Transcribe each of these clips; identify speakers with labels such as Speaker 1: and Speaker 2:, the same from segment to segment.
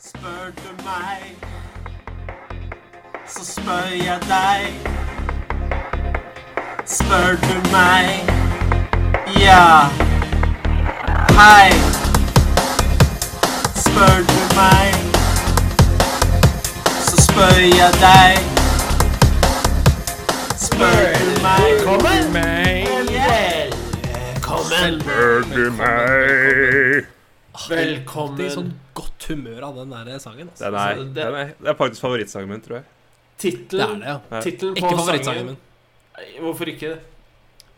Speaker 1: Spør du meg, så spør jeg deg. Spør du meg, ja. Hei. Spør du meg, så spør jeg deg. Spør du meg,
Speaker 2: Velkommen! Velkommen!
Speaker 3: Spør du meg
Speaker 4: Alltid i
Speaker 2: Velkommen!
Speaker 4: sånn godt humør av den der sangen. Altså.
Speaker 3: den er,
Speaker 2: Så det-
Speaker 3: den er, det er faktisk favorittsangen min, tror jeg.
Speaker 4: Det
Speaker 2: Tittelen
Speaker 4: er det, ja.
Speaker 2: tittelen på
Speaker 4: Ikke favorittsangen min.
Speaker 2: sangen Hvorfor ikke?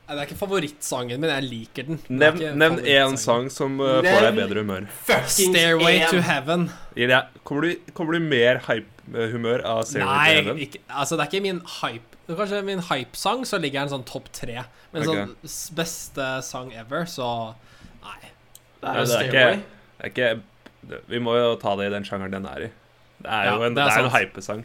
Speaker 4: Nei, det er ikke favorittsangen min, jeg liker den. Det er
Speaker 3: Nevn,
Speaker 4: ikke
Speaker 3: nevn én
Speaker 4: favorittsangen.
Speaker 3: sang som eh, får deg i bedre humør.
Speaker 2: Fuckings
Speaker 4: Stairway
Speaker 2: en.
Speaker 4: to Heaven.
Speaker 3: Gir deg- Kommer du, kommer du i mer hype-humør av Stairway to
Speaker 4: Nei,
Speaker 3: Heaven?
Speaker 4: ikke, altså det er ikke min hype det er Kanskje min hype-sang, så ligger den sånn topp tre. Men sånn s- beste sang ever, så Nei.
Speaker 2: Det
Speaker 3: Ja,
Speaker 2: er
Speaker 3: det er
Speaker 2: Stairway.
Speaker 3: ikke- Det er ikke, det- vi må jo ta det i den sjangeren den er i. Det er
Speaker 4: Ja,
Speaker 3: jo en,
Speaker 4: det er
Speaker 3: det er en
Speaker 4: sant.
Speaker 3: hypesang.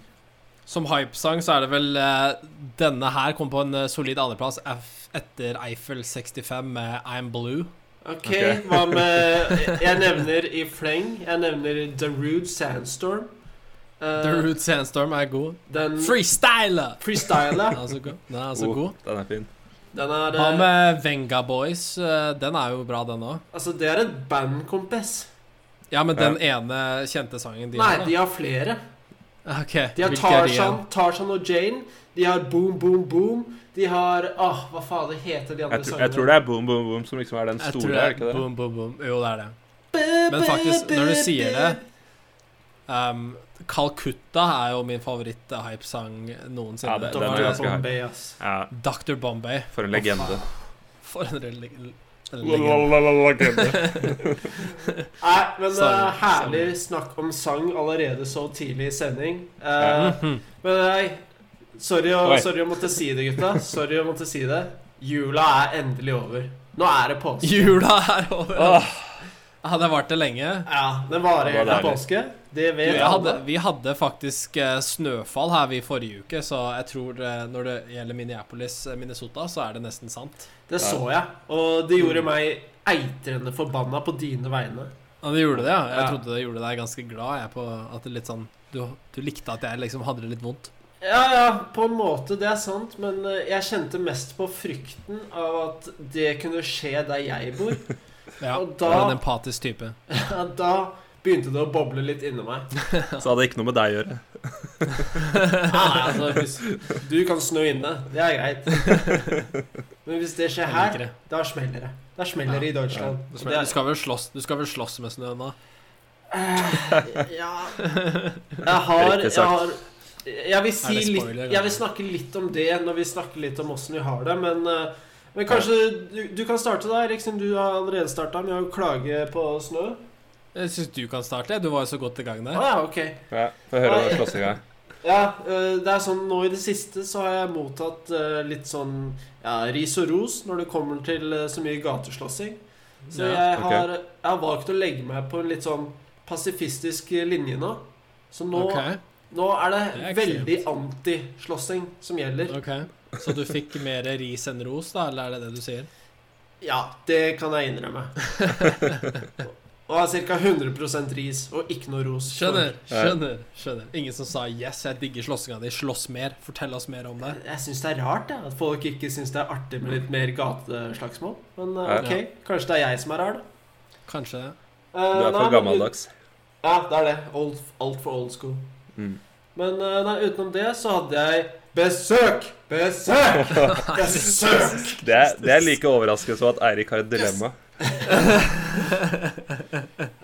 Speaker 4: Som hype-sang så er det vel eh, Denne her kom på en eh, solid andreplass eff- etter Eiffel 65 med I'm Blue.
Speaker 2: Ok,
Speaker 3: Ok.
Speaker 2: hva med Jeg nevner i fleng. Jeg nevner The Rude Sandstorm. Eh,
Speaker 4: The Root Sandstorm er god.
Speaker 2: Den
Speaker 4: Freestyler! Den
Speaker 2: freestyler.
Speaker 4: er så god. Den er så
Speaker 3: Oh,
Speaker 4: Altså, god.
Speaker 3: Den er fin.
Speaker 2: Den er
Speaker 4: Hva
Speaker 2: eh,
Speaker 4: med Venga Boys? Eh, Den er jo bra, den òg.
Speaker 2: Altså, det er et band, kompis.
Speaker 4: Ja, men den ene kjente sangen de
Speaker 2: Nei,
Speaker 4: har, da.
Speaker 2: de har flere.
Speaker 4: Ok,
Speaker 2: De har
Speaker 4: hvilke er de
Speaker 2: Tarzan,
Speaker 4: igjen?
Speaker 2: Tarzan og Jane. De har Boom Boom Boom. De har Åh, hva fader heter de andre
Speaker 3: Jeg, tror- jeg tror det er Boom Boom Boom som liksom er den
Speaker 4: Jeg
Speaker 3: store,
Speaker 4: tror
Speaker 3: er det ikke det?
Speaker 4: Boom, boom, boom. Jo, det er det. Men faktisk, når du sier det um, Calcutta er jo min favoritt-hypesang
Speaker 3: Ja,
Speaker 4: noensinne.
Speaker 3: det- den er ganske hard.
Speaker 2: Bombay, ass.
Speaker 3: Ja,
Speaker 4: Dr. Bombay.
Speaker 3: for en legende.
Speaker 4: For en relig- en legende.
Speaker 3: Legende.
Speaker 2: Nei, men det
Speaker 4: Sang,
Speaker 2: er herlig snakk om sang allerede så tidlig i sending. Eh,
Speaker 3: Ja.
Speaker 2: Men nei, sorry å,
Speaker 3: Oi.
Speaker 2: sorry å måtte si det, gutta. Sorry å måtte si det. Jula er endelig over. Nå er det påske.
Speaker 4: Jula er over.
Speaker 3: Ah.
Speaker 4: Ja, det varte lenge.
Speaker 2: Ja, den varer hele
Speaker 3: Det var deilig.
Speaker 2: påske. Det
Speaker 4: Vi
Speaker 2: vet
Speaker 4: hadde,
Speaker 2: alle.
Speaker 4: vi hadde faktisk eh, snøfall her vi forrige uke, så jeg tror eh, når det gjelder Minneapolis, eh, Minnesota, så er det nesten sant.
Speaker 2: Det så jeg. Og det gjorde meg eitrende forbanna på dine vegne.
Speaker 4: Ja, det gjorde det, ja. Jeg
Speaker 2: Ja.
Speaker 4: trodde det gjorde deg ganske glad, jeg, på at det litt sånn du, du likte at jeg liksom hadde det litt vondt.
Speaker 2: Ja, ja, på en måte, det er sant, men eh, jeg kjente mest på frykten av at det kunne skje der jeg bor.
Speaker 4: Ja,
Speaker 2: Og
Speaker 4: du
Speaker 2: da-
Speaker 4: er en empatisk type.
Speaker 2: Ja, Da begynte det å boble litt inni meg.
Speaker 3: Så hadde det ikke noe med deg å gjøre.
Speaker 2: Nei, altså, hvis du kan snø inne, det er greit. Men hvis det skjer
Speaker 4: Jeg
Speaker 2: her,
Speaker 4: liker det.
Speaker 2: da smeller det. Da smeller det i Deutschland.
Speaker 4: Du
Speaker 2: Og det
Speaker 4: skal- Du skal vel slåss, du skal vel slåss med snøen da?
Speaker 2: er- Ja Jeg har
Speaker 3: Riktig
Speaker 2: Jeg,
Speaker 3: sagt.
Speaker 2: har, jeg vil si
Speaker 4: Er det spoiler,
Speaker 2: litt
Speaker 4: eller?
Speaker 2: Jeg vil snakke litt om det når vi snakker litt om åssen vi har det, men eh, men kanskje du, du kan starte, da, Erik, siden du har allerede starta med å klage på snø.
Speaker 4: Jeg syns du kan starte. jeg. Du var jo så godt i gang
Speaker 2: Å
Speaker 4: der.
Speaker 2: ja, ok.
Speaker 3: Ja, Få høre hva slåssinga er.
Speaker 2: Ja, øh, det er sånn nå i det siste så har jeg mottatt øh, litt sånn ja, ris og ros når det kommer til øh, så mye gateslåssing. Så
Speaker 4: Ja,
Speaker 2: jeg,
Speaker 3: ok.
Speaker 2: har, jeg har valgt å legge meg på en litt sånn pasifistisk øh, linje nå. Så nå,
Speaker 4: Ok,
Speaker 2: nå er det,
Speaker 4: Det er
Speaker 2: veldig antislåssing som gjelder.
Speaker 4: ok. Så du fikk mer ris enn ros, da? Eller er det det du sier?
Speaker 2: Ja, det kan jeg innrømme. Og jeg har ca. 100 ris og ikke noe ros.
Speaker 4: Skjønner, skjønner. skjønner Ingen som sa 'yes, jeg digger slåssinga di', slåss mer, fortell oss mer om det.
Speaker 2: Jeg syns det er rart jeg, at folk ikke syns det er artig med litt mer gateslagsmål. Men eh,
Speaker 3: Ja.
Speaker 2: ok, kanskje det er jeg som er rar, da. Eh,
Speaker 4: Kanskje det.
Speaker 3: Du er for gammeldags.
Speaker 2: Ja, det er det. Old, alt for old school.
Speaker 3: Mm.
Speaker 2: Men eh, nei, utenom det så hadde jeg besøk! Besøk! Besøk!
Speaker 3: Det er, det er like overraskende som at Eirik har et dilemma.
Speaker 2: Jeg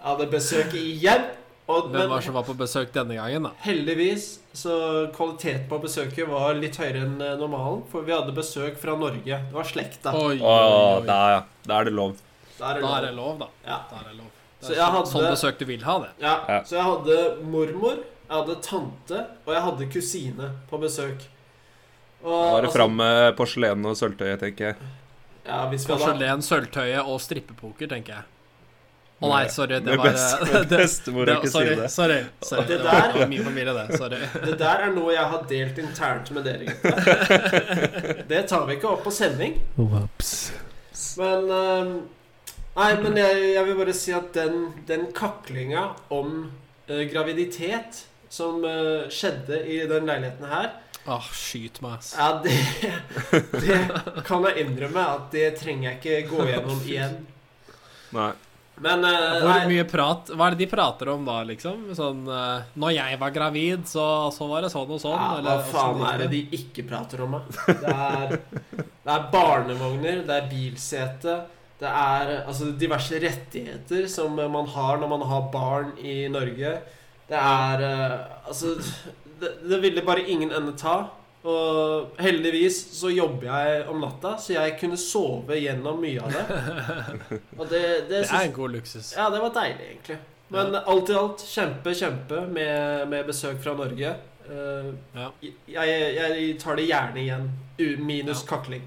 Speaker 2: hadde besøk igjen. Og,
Speaker 4: Hvem var det
Speaker 2: men
Speaker 4: som var på besøk denne gangen, da?
Speaker 2: heldigvis så kvaliteten på besøket var litt høyere enn eh, normalen, for vi hadde besøk fra Norge. Det var slekta.
Speaker 4: Oi,
Speaker 3: Å,
Speaker 4: oi, oi.
Speaker 3: da, ja. da er det lov.
Speaker 2: Da er det
Speaker 4: Da er det
Speaker 2: lov.
Speaker 4: lov, da.
Speaker 2: Ja.
Speaker 4: Da er det lov. Det
Speaker 2: Så
Speaker 4: er
Speaker 2: jeg
Speaker 4: sånn-
Speaker 2: hadde-
Speaker 4: Sånn besøk du vil ha, det.
Speaker 2: Ja,
Speaker 3: Ja.
Speaker 2: Så jeg hadde mormor, jeg hadde tante, og jeg hadde kusine på besøk. Og,
Speaker 3: Da er det
Speaker 2: altså-
Speaker 3: fram med porselen og sølvtøyet, tenker jeg.
Speaker 2: Ja, hvis vi hadde
Speaker 4: Porselen, sølvtøyet og strippepoker, tenker jeg. Å nei, sorry. Det
Speaker 3: Med
Speaker 4: var eh,
Speaker 3: best-
Speaker 4: det,
Speaker 3: med bestemor og
Speaker 4: det- sorry,
Speaker 3: kusine.
Speaker 4: sorry, sorry.
Speaker 2: Det
Speaker 4: Det var,
Speaker 2: der-
Speaker 4: det var min familie, det. Sorry.
Speaker 2: Det der er noe jeg har delt internt med dere, gutter. Det tar vi ikke opp på sending. Men eh, Nei, men jeg, jeg vil bare si at den, den kaklinga om eh, graviditet som eh, skjedde i den leiligheten her,
Speaker 4: Åh, skyt meg, ass.
Speaker 2: ja, det, det kan jeg innrømme at det trenger jeg ikke gå gjennom igjen.
Speaker 3: Nei.
Speaker 2: Men eh,
Speaker 4: Hvor
Speaker 2: nei,
Speaker 4: mye prat Hva er det de prater om da, liksom? Sånn eh, Når jeg var gravid, så, så var det sånn og sånn.
Speaker 2: ja, hva
Speaker 4: eller
Speaker 2: faen
Speaker 4: åssen gikk
Speaker 2: er det de ikke prater om, da? Det er, det er barnevogner, det er bilsete, det er altså, diverse rettigheter som man har når man har barn i Norge. Det er eh, Altså, det, det ville bare ingen ende ta. Og heldigvis så jobber jeg om natta, så jeg kunne sove gjennom mye av det. Og det, det,
Speaker 4: Det
Speaker 2: synes-
Speaker 4: er en god luksus.
Speaker 2: Ja, det var deilig, egentlig. Men alt i alt, kjempe, kjempe med, med besøk fra Norge. Eh,
Speaker 4: Ja.
Speaker 2: jeg, jeg tar det gjerne igjen. U- Minus kakling.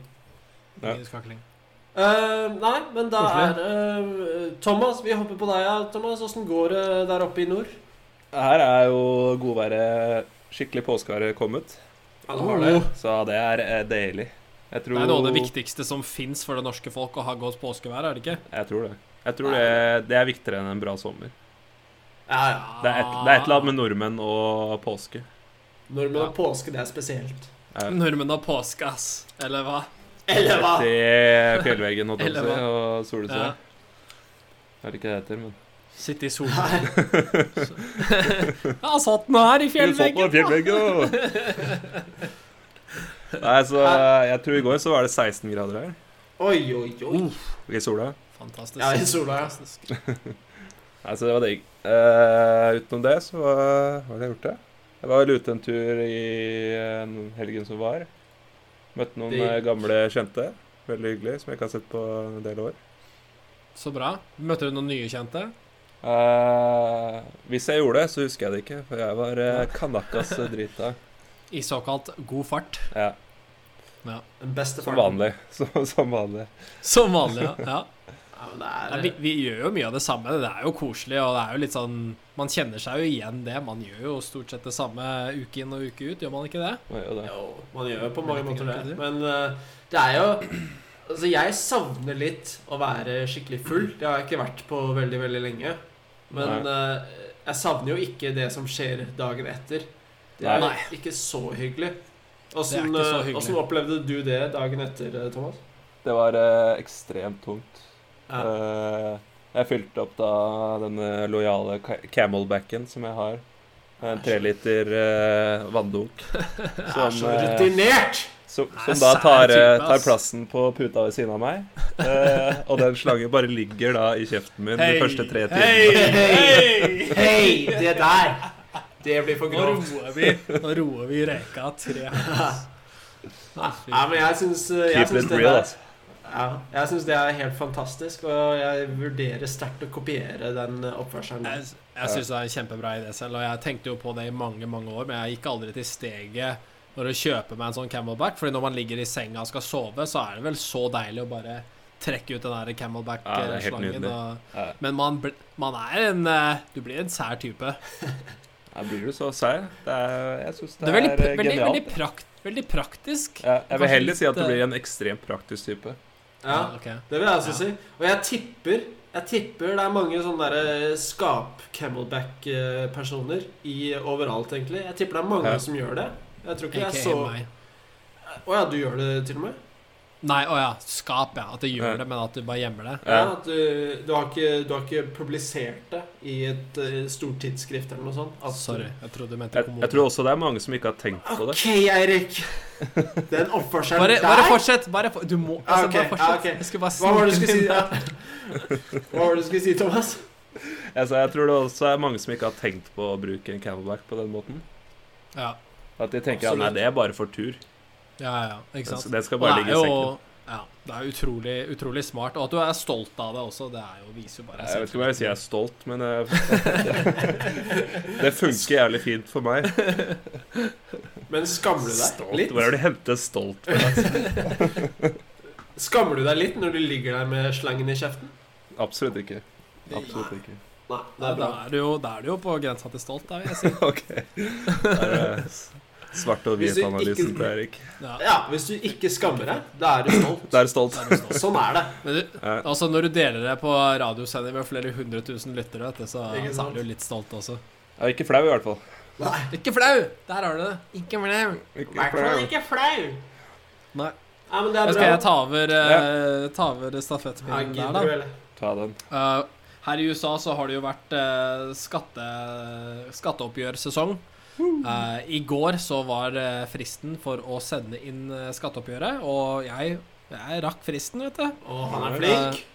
Speaker 3: Ja.
Speaker 4: Minus kakling.
Speaker 2: Eh, nei, men da
Speaker 4: Koselig.
Speaker 2: er eh, Thomas, vi hopper på deg, ja, Thomas. Åssen går det der oppe i nord?
Speaker 3: Her er jo godværet skikkelig påskeværet kommet,
Speaker 2: Ja,
Speaker 4: det har det.
Speaker 3: så det er eh, deilig. Jeg tror
Speaker 4: Det er noe av det viktigste som fins for det norske folk, å ha godt påskevær, er det ikke?
Speaker 3: Jeg tror det. Jeg tror det, det er viktigere enn en bra sommer.
Speaker 2: Ja, ja.
Speaker 3: Det er et, det er et eller annet med nordmenn og påske.
Speaker 2: Nordmenn
Speaker 4: Ja.
Speaker 2: og påske, det er spesielt.
Speaker 3: Ja.
Speaker 4: Nordmenn har påske, ass. Eller hva?
Speaker 2: Eller hva?
Speaker 3: Til fjellveggen holdt jeg på
Speaker 4: Eller
Speaker 3: å si,
Speaker 4: hva?
Speaker 3: og solsida.
Speaker 4: Ja.
Speaker 3: Jeg vet ikke hva det heter, men
Speaker 4: Sitte i sola. Jeg har satt den her i fjellveggen.
Speaker 3: fjellveggen! Nei, så eh, jeg tror i går så var det 16 grader her.
Speaker 2: Oi, oi, oi.
Speaker 4: Oh.
Speaker 3: Uh. I sola.
Speaker 4: Fantastisk.
Speaker 2: Ja, i sola, ja.
Speaker 4: Fantastisk.
Speaker 3: Nei, så det var digg. Eh, utenom det, så eh, hva har jeg gjort, da? Jeg var vel ute en tur i eh, helgen som var. Møtte noen
Speaker 2: Digg.
Speaker 3: eh, gamle kjente. Veldig hyggelig, som jeg ikke har sett på en del år.
Speaker 4: Så bra. Møtte du noen nye kjente?
Speaker 3: Eh, hvis jeg gjorde det, så husker jeg det ikke, for jeg var uh, kanakas drita.
Speaker 4: I såkalt god fart.
Speaker 3: Ja,
Speaker 2: Den beste
Speaker 3: som
Speaker 2: farten.
Speaker 3: vanlig. Som, som vanlig.
Speaker 4: Som vanlig, ja. ja.
Speaker 2: Ja, men det
Speaker 4: Nei,
Speaker 2: er,
Speaker 4: vi, vi gjør jo mye av det samme. Det er jo koselig, og det er jo litt sånn Man kjenner seg jo igjen det. Man gjør jo stort sett det samme uke inn og uke ut, gjør man ikke det?
Speaker 3: Var jo det.
Speaker 2: Jo, man gjør jo på mange
Speaker 4: Vet ikke
Speaker 2: måter
Speaker 4: hva
Speaker 2: det.
Speaker 4: du-
Speaker 2: Men eh, det er jo Altså, jeg savner litt å være skikkelig full. Det har jeg ikke vært på veldig, veldig lenge. Men eh, jeg savner jo ikke det som skjer dagen etter. Det er jo
Speaker 4: Nei.
Speaker 2: ikke så hyggelig.
Speaker 4: Det er
Speaker 2: Åssen
Speaker 4: ikke så
Speaker 2: eh,
Speaker 4: hyggelig.
Speaker 2: åssen opplevde du det dagen etter, eh, Thomas?
Speaker 3: Det var eh, ekstremt tungt.
Speaker 2: Ja.
Speaker 3: Eh, jeg fylte opp da denne lojale ca- camelbacken som jeg har. Eh, En treliter uh, vanndunk.
Speaker 2: Jeg er
Speaker 3: Som,
Speaker 2: så
Speaker 3: eh,
Speaker 2: rutinert!
Speaker 3: som,
Speaker 4: Nei,
Speaker 3: som da
Speaker 4: sær
Speaker 3: tar, eh,
Speaker 4: type, ass.
Speaker 3: tar plassen på puta ved siden av meg. Eh, og den slangen bare ligger da i kjeften min de første tre timene.
Speaker 2: Hei! Hei! Det der! Det blir for
Speaker 4: Nå
Speaker 2: grovt.
Speaker 4: roer vi Nå roer vi reka tre.
Speaker 2: Ja, men jeg syns jeg
Speaker 3: Keep
Speaker 2: syns
Speaker 3: it
Speaker 2: det,
Speaker 3: real,
Speaker 2: der-
Speaker 3: altså.
Speaker 2: ja, jeg synes det er helt fantastisk, og jeg vurderer sterkt å kopiere den oppførselen. der.
Speaker 4: Jeg, jeg syns det er en kjempebra idé selv, og jeg tenkte jo på det i mange mange år, men jeg gikk aldri til steget når å kjøpe meg en sånn camelback, Fordi når man ligger i senga og skal sove, så er det vel så deilig å bare trekke ut den der
Speaker 3: Ja, det er helt
Speaker 4: camelback-slangen.
Speaker 3: nydelig.
Speaker 4: og-
Speaker 3: Ja.
Speaker 4: men man, bl- man er en eh, Du blir en sær type.
Speaker 3: Her blir du så sær. Det er, jeg syns det,
Speaker 4: Det er veldig,
Speaker 3: er eh,
Speaker 4: pr- veldig, veldig,
Speaker 3: genialt.
Speaker 4: prakt, veldig praktisk.
Speaker 3: Ja, jeg vil
Speaker 4: Kanskje
Speaker 3: heller si at
Speaker 4: litt,
Speaker 3: du
Speaker 4: eh,
Speaker 3: blir en ekstremt praktisk type.
Speaker 2: Ja,
Speaker 4: Ah, ok.
Speaker 2: det vil jeg også
Speaker 4: Ja.
Speaker 2: si. Og jeg tipper jeg tipper det er mange sånne der skap-camelback-personer i overalt, egentlig. Jeg tipper det er mange
Speaker 3: Ja.
Speaker 2: som gjør det. Jeg tror ikke
Speaker 4: AKA
Speaker 2: jeg så Å
Speaker 4: meg.
Speaker 2: ja, du gjør det til og med?
Speaker 4: Nei, å ja. Skap, ja. At det gjør
Speaker 3: Ja.
Speaker 4: det, men at du bare gjemmer det.
Speaker 3: Ja.
Speaker 2: Ja, at du, du, har ikke, du har ikke publisert det i et eh, stort tidsskrift eller noe sånt? At du-
Speaker 4: Sorry. Jeg trodde du mente
Speaker 3: Jeg,
Speaker 4: kommode.
Speaker 3: jeg tror også det er mange som ikke har tenkt på det.
Speaker 2: OK, Eirik. Den oppførselen
Speaker 4: bare,
Speaker 2: der
Speaker 4: bare fortsett. Bare for, du må
Speaker 2: Ja,
Speaker 4: altså,
Speaker 2: ok,
Speaker 4: bare
Speaker 2: ja,
Speaker 4: fortsett.
Speaker 2: ok.
Speaker 4: Jeg skulle bare
Speaker 2: Hva var det du
Speaker 4: sniken
Speaker 2: skulle si?
Speaker 4: min
Speaker 2: Ja.
Speaker 4: der.
Speaker 2: Hva var det du skulle si, Thomas?
Speaker 3: Jeg, sa, Altså, jeg tror det også er mange som ikke har tenkt på å bruke en camelback på den måten.
Speaker 4: Ja,
Speaker 3: At de tenker at
Speaker 2: Absolutt.
Speaker 3: nei, det er bare for tur.
Speaker 4: ja, ja. Ikke sant.
Speaker 3: Den den skal
Speaker 4: Og
Speaker 3: bare
Speaker 4: det er
Speaker 3: ligge i sekken.
Speaker 4: jo ja, det er utrolig, utrolig smart. Og at du er stolt av det også, det er jo, viser jo bare
Speaker 3: Jeg vet ikke om jeg sier jeg er stolt, men eh, Det funker jævlig fint for meg.
Speaker 2: Men skammer du deg
Speaker 3: Stolt.
Speaker 2: litt?
Speaker 3: Hvor er det du henter stolt? fra?
Speaker 2: Skammer du deg litt når du ligger der med slangen i kjeften?
Speaker 3: Absolutt ikke. Absolutt ikke.
Speaker 2: Nei, det
Speaker 4: Da
Speaker 2: er bra.
Speaker 4: er du jo, da er du jo på grensa til stolt, da, vil jeg si.
Speaker 3: OK. Der er eh, svart og
Speaker 2: Hvis du
Speaker 3: hvit-analysen
Speaker 2: ikke-
Speaker 3: til Erik.
Speaker 4: Ja,
Speaker 2: Ja, hvis du ikke skammer deg, da er du stolt.
Speaker 3: Da er du stolt.
Speaker 4: da er du stolt.
Speaker 2: Sånn er det.
Speaker 4: Men du,
Speaker 3: Ja.
Speaker 4: Altså Når du deler det på radiosending med flere hundre tusen lyttere, vet du, så,
Speaker 2: Ikke
Speaker 4: så
Speaker 2: sant?
Speaker 4: er du jo litt stolt også.
Speaker 3: Ja, ikke flau, i hvert fall.
Speaker 2: Nei.
Speaker 4: Ikke flau! Der har du det. Ikke flau.
Speaker 1: I hvert fall ikke flau.
Speaker 4: Nei.
Speaker 2: Ja, men det er
Speaker 4: Da
Speaker 2: bra.
Speaker 4: skal jeg ta over, eh, ta over
Speaker 2: Ja,
Speaker 4: stafettpinnen der, da.
Speaker 2: Gabriel.
Speaker 3: Ta den.
Speaker 4: Eh, her i USA så har det jo vært eh, skatte, skatteoppgjørsesong. Eh, I går så var eh, fristen for å sende inn eh, skatteoppgjøret, og jeg, jeg rakk fristen, vet du.
Speaker 2: Å, han er flink.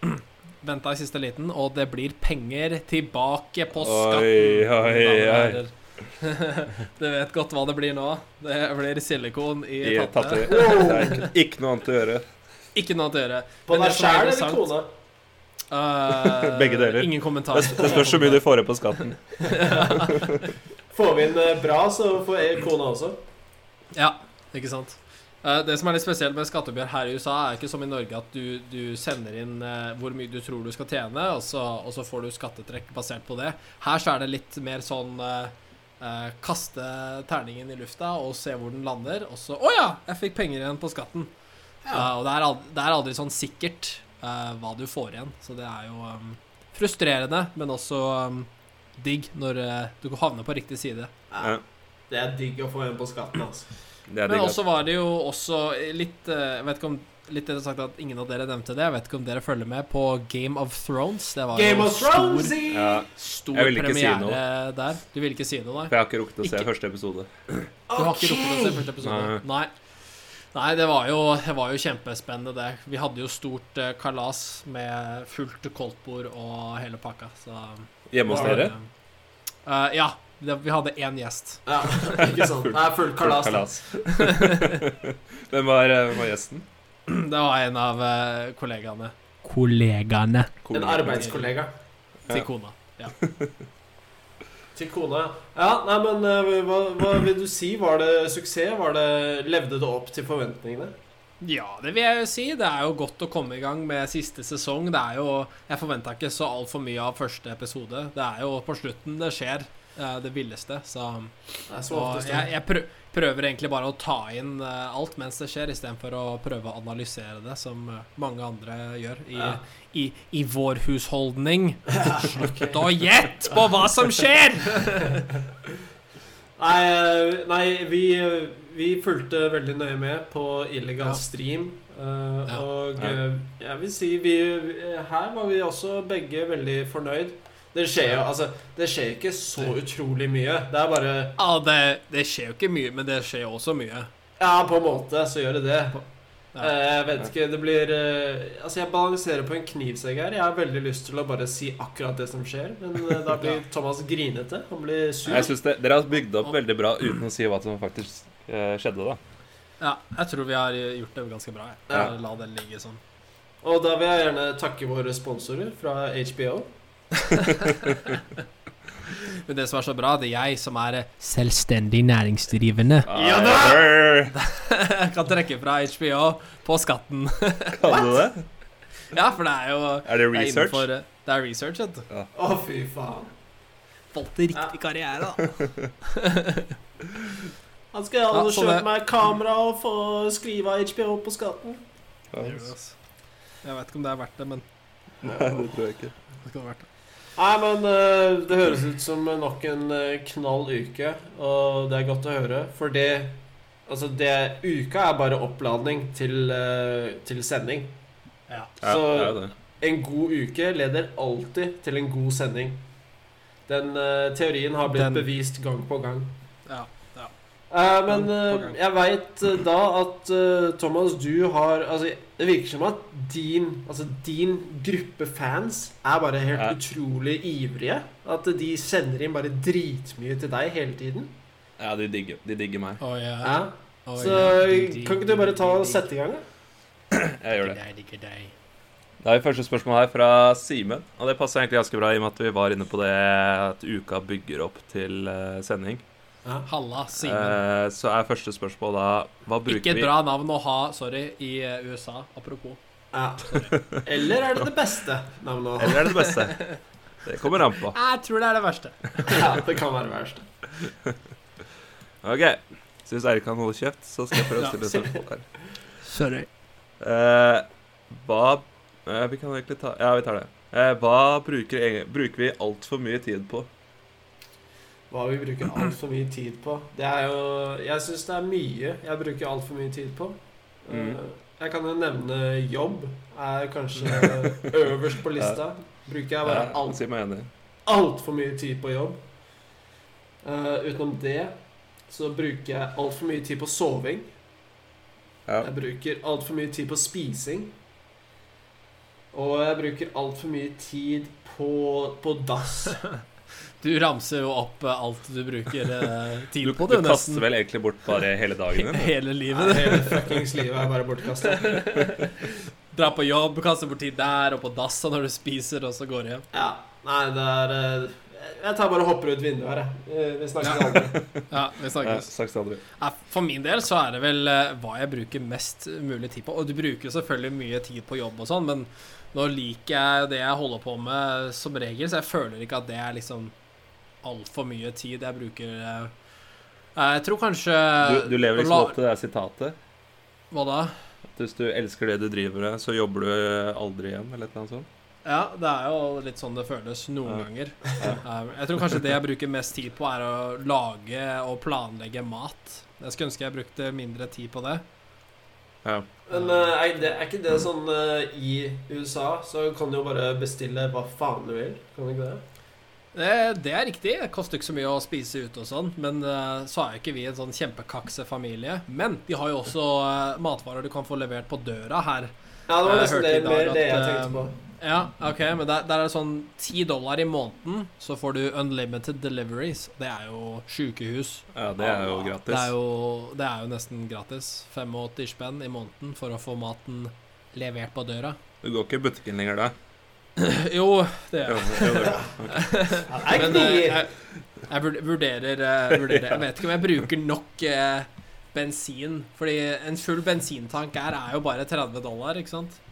Speaker 4: Venta i siste liten, og det blir penger tilbake på skatten.
Speaker 3: Oi, oi, oi.
Speaker 4: damer og herrer. du vet godt hå det blir nå. Det blir silikon i
Speaker 3: I
Speaker 4: tatte.
Speaker 3: tatte. Det er ikke, ikke noe annet å gjøre.
Speaker 4: Ikke noe annet å gjøre.
Speaker 2: På
Speaker 4: Men
Speaker 2: deg
Speaker 4: det som er
Speaker 2: sjæl eller
Speaker 4: interessant-
Speaker 2: kona?
Speaker 4: Eh,
Speaker 3: Begge deler.
Speaker 4: Ingen kommentar.
Speaker 3: Det, det spørs hvor mye du får igjen på skatten.
Speaker 2: Får vi inn eh, bra, så får jeg kona også.
Speaker 4: Ja, ikke sant. Eh, Det som er litt spesielt med skatteoppgjør her i USA, er ikke som i Norge at du, du sender inn eh, hvor mye du tror du skal tjene, og så, og så får du skattetrekk basert på det. Her så er det litt mer sånn eh, eh, kaste terningen i lufta og se hvor den lander, og så Å ja! Jeg fikk penger igjen på skatten. Eh, og det er, aldri, det er aldri sånn sikkert eh, hva du får igjen, så det er jo eh, frustrerende, men også eh, digg når eh, du havner på riktig side.
Speaker 2: Ja. Det er digg å få en på skatten, altså.
Speaker 3: Det er
Speaker 4: Men
Speaker 3: digg.
Speaker 4: også var det jo også litt eh, Jeg vet ikke om litt interessant at ingen av dere nevnte det. Jeg vet ikke om dere følger med på Game of Thrones. Det var
Speaker 2: Game
Speaker 4: jo
Speaker 2: of
Speaker 4: stor,
Speaker 2: Thrones!
Speaker 3: ass. Ja,
Speaker 4: stor
Speaker 3: Jeg vil ikke si
Speaker 4: premiere
Speaker 3: noe.
Speaker 4: der. Du vil ikke si noe,
Speaker 3: for
Speaker 4: nei?
Speaker 3: jeg har ikke rukket å se
Speaker 4: Ikke-
Speaker 3: første episode.
Speaker 4: Du har ikke rukket å se første episode?
Speaker 3: Nei.
Speaker 4: Nei. Nei, det var jo, det var jo kjempespennende, det. Vi hadde jo stort eh, kalas med fullt koldtbord og hele pakka, så
Speaker 3: Hjemme hos dere?
Speaker 4: Eh, ja. Det, vi hadde én gjest.
Speaker 2: Ja, ikke sant. Det er fullt kalas. da.
Speaker 3: Hvem var, eh, hvem var gjesten?
Speaker 4: Det var en av eh, kollegaene. Kollegaene.
Speaker 2: En arbeidskollega.
Speaker 4: Til kona. Ja.
Speaker 2: Til kona, ja. ja. Nei, men eh, hva, hva vil du si? Var det suksess? Var det, levde det opp til forventningene?
Speaker 4: Ja, det vil jeg jo si. Det er jo godt å komme i gang med siste sesong. Det er jo, Jeg forventa ikke så altfor mye av første episode. Det er jo på slutten det skjer, eh, det villeste. Så,
Speaker 2: Det er så
Speaker 4: og
Speaker 2: oftest
Speaker 4: jeg, jeg prø- prøver egentlig bare å ta inn eh, alt mens det skjer, istedenfor å prøve å analysere det, som eh, mange andre gjør i,
Speaker 2: Ja.
Speaker 4: i, i vår husholdning. Slutt å gjette på hva som skjer!
Speaker 2: Nei, eh, nei vi, eh, vi fulgte veldig nøye med på illegal
Speaker 4: Ja.
Speaker 2: stream. eh,
Speaker 4: Ja.
Speaker 2: Og
Speaker 3: Ja.
Speaker 2: eh, jeg vil si vi, eh, Her var vi også begge veldig fornøyd. Det skjer jo altså, det skjer ikke så utrolig mye. Det er bare
Speaker 4: Ja, det, det skjer jo ikke mye, men det skjer jo også mye.
Speaker 2: Ja, på en måte så gjør det det.
Speaker 4: Ja.
Speaker 2: Eh, Jeg vet ikke, det blir eh, Altså, jeg balanserer på en knivsegg her. Jeg har veldig lyst til å bare si akkurat det som skjer, men eh, da blir Thomas grinete. Han blir sur.
Speaker 3: Jeg synes det, Dere har bygd opp veldig bra uten å si hva som faktisk eh, skjedde, da.
Speaker 4: Ja, jeg tror vi har gjort det ganske bra. Jeg.
Speaker 2: Ja.
Speaker 4: Bare La det ligge sånn.
Speaker 2: Og da vil jeg gjerne takke våre sponsorer fra HBO.
Speaker 4: Men det som er så bra, det er jeg som er eh, selvstendig næringsdrivende.
Speaker 2: Ja da!
Speaker 3: Arr!
Speaker 4: Jeg kan trekke fra HBO på skatten.
Speaker 3: Kan du det?
Speaker 4: Ja, for det er jo
Speaker 3: Er det
Speaker 4: det er
Speaker 3: research?
Speaker 4: innenfor- eh, det er research, vet du.
Speaker 2: Å, fy faen.
Speaker 4: Valgte riktig karriere, da.
Speaker 2: Han skal gjerne
Speaker 4: Ja, så
Speaker 2: kjøpe
Speaker 4: det-
Speaker 2: meg kamera og få skrive av HBO på skatten.
Speaker 3: Ja,
Speaker 4: Det gjør det, altså. Jeg vet ikke om det er verdt det, men
Speaker 3: Nei, det tror jeg ikke.
Speaker 4: det kan være verdt det.
Speaker 2: Nei, men eh, det høres ut som nok en eh, knall uke, og det er godt å høre. For det Altså, det Uka er bare oppladning til, eh, til sending.
Speaker 4: Ja.
Speaker 3: Ja,
Speaker 2: Så-
Speaker 3: det er det.
Speaker 2: En god uke leder alltid til en god sending. Den eh, teorien har blitt
Speaker 4: Den-
Speaker 2: bevist gang på gang.
Speaker 4: ja.
Speaker 2: Eh, men
Speaker 4: Gang på
Speaker 2: eh,
Speaker 4: gang.
Speaker 2: jeg veit da at eh, Thomas, du har Altså, det virker som at din, altså, din gruppe fans er bare helt
Speaker 3: Ja.
Speaker 2: utrolig ivrige. At de sender inn bare dritmye til deg hele tiden.
Speaker 3: Ja, de digger, de digger meg.
Speaker 4: Å, ja.
Speaker 2: Ja.
Speaker 4: Å,
Speaker 2: Så eh,
Speaker 4: ja.
Speaker 2: kan ikke du bare ta og sette i gang, da?
Speaker 3: Jeg gjør det.
Speaker 4: Digger deg, digger deg.
Speaker 3: Da har vi første spørsmål her fra Simen. Og det passer egentlig ganske bra i og med at vi var inne på det at uka bygger opp til eh, sending.
Speaker 4: Halla, Simen.
Speaker 3: Eh, så er første spørsmål da Hva bruker
Speaker 4: Ikke et
Speaker 3: vi
Speaker 4: bra navn å ha, sorry, i eh, USA, apropos.
Speaker 2: Ja. Eller er det det beste navnet å ha?
Speaker 3: Eller er det det beste? Det kommer an på.
Speaker 4: Jeg tror det er det verste.
Speaker 2: Ja, det kan være verst.
Speaker 3: Ok. Så hvis Eirik kan holde kjeft, så skal jeg prøve å stille et spørsmål her.
Speaker 4: Sorry.
Speaker 3: Eh, hva eh, Vi kan egentlig ta Ja, vi tar det. Eh, hva bruker, egen- bruker vi altfor mye tid på?
Speaker 2: hva vi bruker altfor mye tid på. Det er jo Jeg syns det er mye jeg bruker altfor mye tid på.
Speaker 3: Mm.
Speaker 2: Eh, Jeg kan jo nevne jobb. Er kanskje øverst på lista. Bruker jeg bare
Speaker 3: Ja,
Speaker 2: alt-
Speaker 3: Eh, si meg enig.
Speaker 2: altfor mye tid på jobb. Eh, utenom det så bruker jeg altfor mye tid på soving.
Speaker 3: Ja.
Speaker 2: Jeg bruker altfor mye tid på spising. Og jeg bruker altfor mye tid på, på dass.
Speaker 4: Du ramser jo opp eh, alt du bruker eh,
Speaker 3: Du,
Speaker 4: tid på,
Speaker 3: du
Speaker 4: du,
Speaker 3: kaster
Speaker 4: nesten
Speaker 3: vel egentlig bort bare hele dagen din?
Speaker 4: hele livet.
Speaker 2: Hele fuckings livet er bare bortkasta.
Speaker 4: Dra på jobb, kaster bort tid der og på dass og når du spiser, og så går du hjem.
Speaker 2: Ja. Nei, det er eh, Jeg tar bare og hopper ut vinduet her, jeg. Eh, Vi snakkes aldri.
Speaker 4: Ja, vi
Speaker 3: Ja,
Speaker 4: snakkes.
Speaker 3: Snakkes aldri.
Speaker 4: Nei, For min del så er det vel eh, hva jeg bruker mest mulig tid på. Og du bruker jo selvfølgelig mye tid på jobb og sånn, men nå liker jeg det jeg holder på med eh, som regel, så jeg føler ikke at det er liksom altfor mye tid jeg bruker eh. Eh, Jeg tror kanskje
Speaker 3: Du, du lever liksom
Speaker 4: La-
Speaker 3: opp til det her sitatet.
Speaker 4: Hva da?
Speaker 3: At Hvis du elsker det du driver med, så jobber du eh, aldri igjen, eller et eller annet sånt.
Speaker 4: Ja, det er jo litt sånn det føles noen
Speaker 3: Ja.
Speaker 4: ganger. Eh, Jeg tror kanskje det jeg bruker mest tid på, er å lage og planlegge mat. Jeg skulle ønske jeg brukte mindre tid på det.
Speaker 3: Ja.
Speaker 2: Men eh, er, det, er ikke det sånn eh, i USA, så kan du jo bare bestille hva faen du vil? Kan du ikke det?
Speaker 4: Eh, Det er riktig. Det koster ikke så mye å spise ute og sånn. Men eh, så er jo ikke vi en sånn kjempekaksefamilie. Men de har jo også eh, matvarer du kan få levert på døra her.
Speaker 2: Ja, det var
Speaker 4: Jeg
Speaker 2: nesten
Speaker 4: hørte
Speaker 2: det,
Speaker 4: i dag
Speaker 2: mer det jeg
Speaker 4: at, eh,
Speaker 2: tenkte på.
Speaker 4: Ja, ok, men der, der er det sånn 10 dollar i måneden, så får du unlimited deliveries. Det er jo sjukehus.
Speaker 3: ja, det er jo gratis.
Speaker 4: Det er jo, det er jo nesten gratis. 85 spenn i måneden for å få maten levert på døra.
Speaker 3: Du går ikke i butikken lenger da?
Speaker 4: Jo, det
Speaker 3: Jo, jo,
Speaker 4: er
Speaker 3: det er bra.
Speaker 2: Ja, det er
Speaker 4: Men eh,
Speaker 2: kniv!
Speaker 4: jeg, jeg vurd- vurderer, eh, vurderer Jeg vet ikke om jeg bruker nok eh, bensin. Fordi en full bensintank her er jo bare 30 dollar, ikke sant?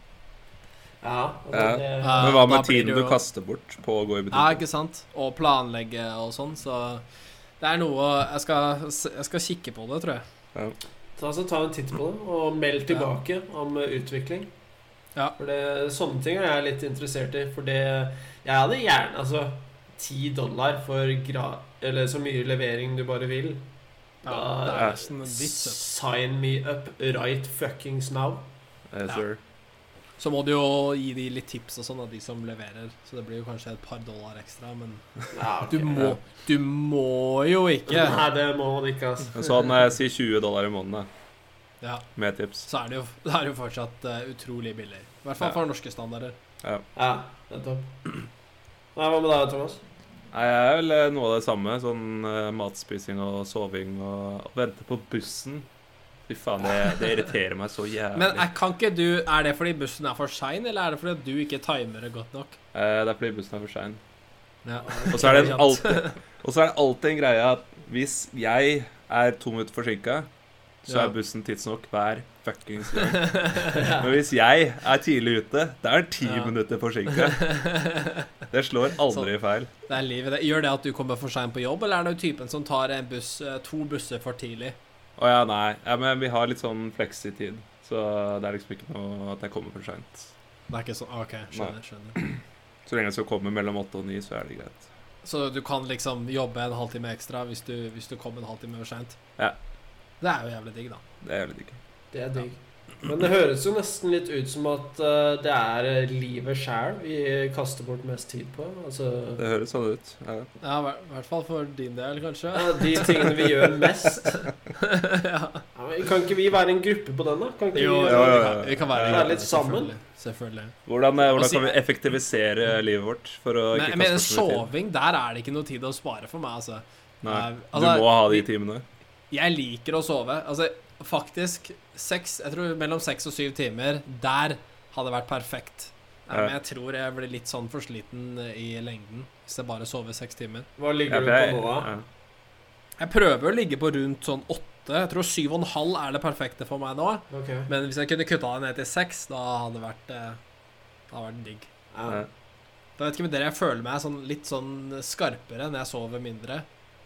Speaker 2: Ja,
Speaker 3: Ja.
Speaker 2: altså, det,
Speaker 4: Ja.
Speaker 3: Men hva
Speaker 4: da
Speaker 3: med
Speaker 4: blir
Speaker 3: tiden
Speaker 4: det
Speaker 3: du
Speaker 4: jo-
Speaker 3: kaster bort på å gå i
Speaker 4: Ja,
Speaker 3: butikken?
Speaker 4: ikke sant? Og planlegge og sånn, så det er noe jeg skal, jeg skal kikke på det, tror jeg.
Speaker 2: ta, så ta en titt på det, og meld tilbake om eh, utvikling.
Speaker 4: Ja.
Speaker 2: For det, sånne ting er jeg litt interessert i, for det Jeg hadde gjerne altså 10 dollar for gra... Eller så mye levering du bare vil.
Speaker 4: Ja,
Speaker 2: Ah, Ja,
Speaker 4: det
Speaker 3: ja.
Speaker 4: er nesten en vits. vet
Speaker 2: Sign me up right fuckings now.
Speaker 3: Yes, sir.
Speaker 4: du. Så må du jo gi de litt tips og sånn, av de som leverer. Så det blir jo kanskje et par dollar ekstra, men
Speaker 2: Ja,
Speaker 4: du må, du må jo ikke.
Speaker 2: Nei, det må man ikke, altså.
Speaker 3: Men Sånn, eh, si 20 dollar i måneden, da,
Speaker 4: Ja,
Speaker 3: med tips.
Speaker 4: så er det jo, det er jo fortsatt eh, utrolig billig. I hvert fall
Speaker 3: Ja.
Speaker 4: for norske standarder.
Speaker 2: Ja, nettopp. Nei, hva med deg, Thomas?
Speaker 3: Nei, jeg er vel eh, noe av det samme. Sånn eh, matspising og soving og og vente på bussen. Fy faen, det, det irriterer meg så jævlig.
Speaker 4: Men er, kan ikke du, er det fordi bussen er for sein, eller er det fordi at du ikke timer det godt nok?
Speaker 3: Eh, det er fordi bussen er for sein.
Speaker 4: Ja.
Speaker 3: Og så er det en alltid, og så er det alltid en greie at hvis jeg er to minutter forsinka, så
Speaker 4: Ja.
Speaker 3: er bussen tidsnok hver fuckings gang. Men hvis jeg er tidlig ute, da er den ti
Speaker 4: Ja.
Speaker 3: minutter forsinka. Det slår aldri feil.
Speaker 4: Det er livet, det. Gjør det at du kommer for sein på jobb, eller er du typen som tar en buss, eh, to busser for tidlig?
Speaker 3: Å ja, nei. Ja, men vi har litt sånn fleksitid, så det er liksom ikke noe at jeg kommer for seint.
Speaker 4: Det er ikke sånn, ok, skjønner, skjønner.
Speaker 3: Så lenge jeg skal komme mellom åtte og ni, så er det greit.
Speaker 4: Så du kan liksom jobbe en halvtime ekstra hvis du, hvis du kom en halvtime for seint?
Speaker 3: Ja.
Speaker 4: Det er jo jævlig digg, da.
Speaker 3: Det er jævlig digg.
Speaker 2: Det er digg. Men det høres jo nesten litt ut som at eh, det er eh, livet sjæl vi kaster bort mest tid på. Altså
Speaker 3: Det høres sånn ut. Ja.
Speaker 4: Ja, i hver- i hvert fall for din del, kanskje.
Speaker 2: ja, de tingene vi gjør mest.
Speaker 4: ja.
Speaker 2: Ja, men kan ikke vi være en gruppe på den, da? Kan ikke
Speaker 4: Jo,
Speaker 2: vi,
Speaker 4: jo,
Speaker 3: ja, ja.
Speaker 4: jo, vi kan, vi kan være,
Speaker 3: Vi
Speaker 2: kan være litt sammen.
Speaker 4: Selvfølgelig. selvfølgelig.
Speaker 3: Hvordan, eh,
Speaker 4: Og
Speaker 3: hvordan
Speaker 4: si-
Speaker 3: kan vi effektivisere livet vårt for å
Speaker 4: Mm. Men,
Speaker 3: ikke
Speaker 4: men
Speaker 3: kaste bort så mye tid?
Speaker 4: soving, der er det ikke noe tid å spare for meg, altså.
Speaker 3: Nei,
Speaker 4: Nei,
Speaker 3: du
Speaker 4: altså,
Speaker 3: må ha de
Speaker 4: vi-
Speaker 3: timene.
Speaker 4: Jeg liker å sove. Altså, faktisk seks Jeg tror mellom seks og syv timer. Der hadde vært perfekt. Nei,
Speaker 3: Ja.
Speaker 4: Men jeg tror jeg blir litt sånn for sliten i lengden hvis jeg bare sover seks timer.
Speaker 2: Hva
Speaker 3: Ja,
Speaker 2: ligger
Speaker 3: for
Speaker 2: du på
Speaker 3: jeg,
Speaker 2: nå, da?
Speaker 3: ja.
Speaker 4: Jeg prøver å ligge på rundt sånn åtte. Jeg tror syv og en halv er det perfekte for meg nå.
Speaker 2: Ok.
Speaker 4: Men hvis jeg kunne kutta det ned til seks, da hadde det vært eh, Da hadde det vært digg.
Speaker 2: Ja.
Speaker 4: Da vet ikke med dere, jeg føler meg sånn, litt sånn skarpere når jeg sover mindre.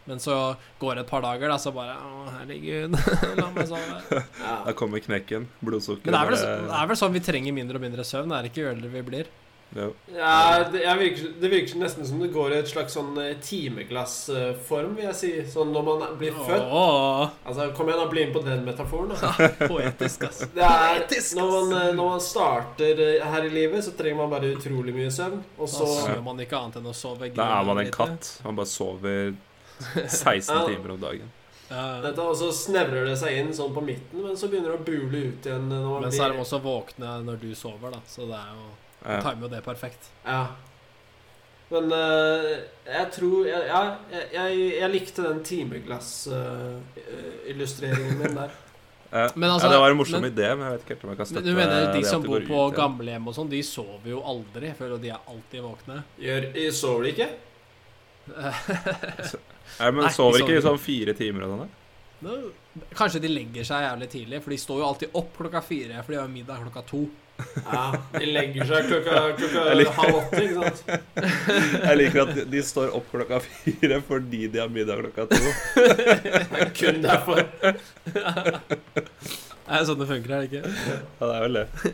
Speaker 4: Men så går det et par dager, da, så bare Å, herregud, la meg sove.
Speaker 2: Ja.
Speaker 3: Da kommer knekken. Blodsukker
Speaker 4: Men det er, vel, det er vel sånn vi trenger mindre og mindre søvn, er det ikke jo eldre vi blir?
Speaker 3: Ja.
Speaker 2: Ja, det, jeg virker, det virker nesten som det går i et slags sånn eh, timeglassform, vil jeg si. Sånn når man blir født.
Speaker 4: Åh,
Speaker 2: Altså, Kom igjen, da, bli med på den metaforen. da
Speaker 4: poetisk, ass.
Speaker 2: det er,
Speaker 4: Poetisk,
Speaker 2: når, man,
Speaker 4: ass.
Speaker 2: eh, når man starter eh, her i livet, så trenger man bare utrolig mye søvn. Og
Speaker 4: Så
Speaker 2: så
Speaker 4: gjør man ikke annet enn å sove.
Speaker 3: Da er man
Speaker 4: grunnen
Speaker 3: en
Speaker 4: litt.
Speaker 3: katt. Man bare sover 16
Speaker 2: Ja.
Speaker 3: timer om dagen.
Speaker 4: Ja.
Speaker 2: dette, Og så snevrer det seg inn sånn på midten, men så begynner det å bule ut igjen. eh, Når man
Speaker 4: Men så er
Speaker 2: blir,
Speaker 4: de også våkne når du sover, da. Så det er jo
Speaker 3: Ja.
Speaker 4: timer jo det perfekt.
Speaker 2: ja. Men eh, jeg tror jeg- Ja, jeg, jeg, jeg likte den timeglass-illustreringen min der.
Speaker 3: Ja.
Speaker 4: Men altså-
Speaker 3: ja, det var en morsom
Speaker 4: men-
Speaker 3: idé, men jeg vet ikke helt om jeg kan
Speaker 4: Men
Speaker 3: støtte
Speaker 4: du mener de
Speaker 3: det
Speaker 4: som
Speaker 3: at det
Speaker 4: bor
Speaker 3: går
Speaker 4: på
Speaker 3: ut igjen.
Speaker 4: gamlehjem og sånn, de sover jo aldri. Jeg føler at de er alltid våkne.
Speaker 2: Gjør, sover de ikke?
Speaker 3: Nei, men
Speaker 4: Nei,
Speaker 3: sover
Speaker 4: de
Speaker 3: ikke de
Speaker 4: sover
Speaker 3: sånn fire timer og sånn? da?
Speaker 4: Nå- Kanskje de legger seg jævlig tidlig, for de står jo alltid opp klokka fire, for de har jo middag klokka to.
Speaker 2: Ja, de legger seg klokka,
Speaker 3: Eller-
Speaker 2: klokka halv åtte, ikke sant?
Speaker 3: Jeg liker at de- de står opp klokka fire fordi de har middag klokka to.
Speaker 2: Det er kun derfor.
Speaker 4: Det er sånn det funker, er det ikke?
Speaker 3: Ja, det er vel det.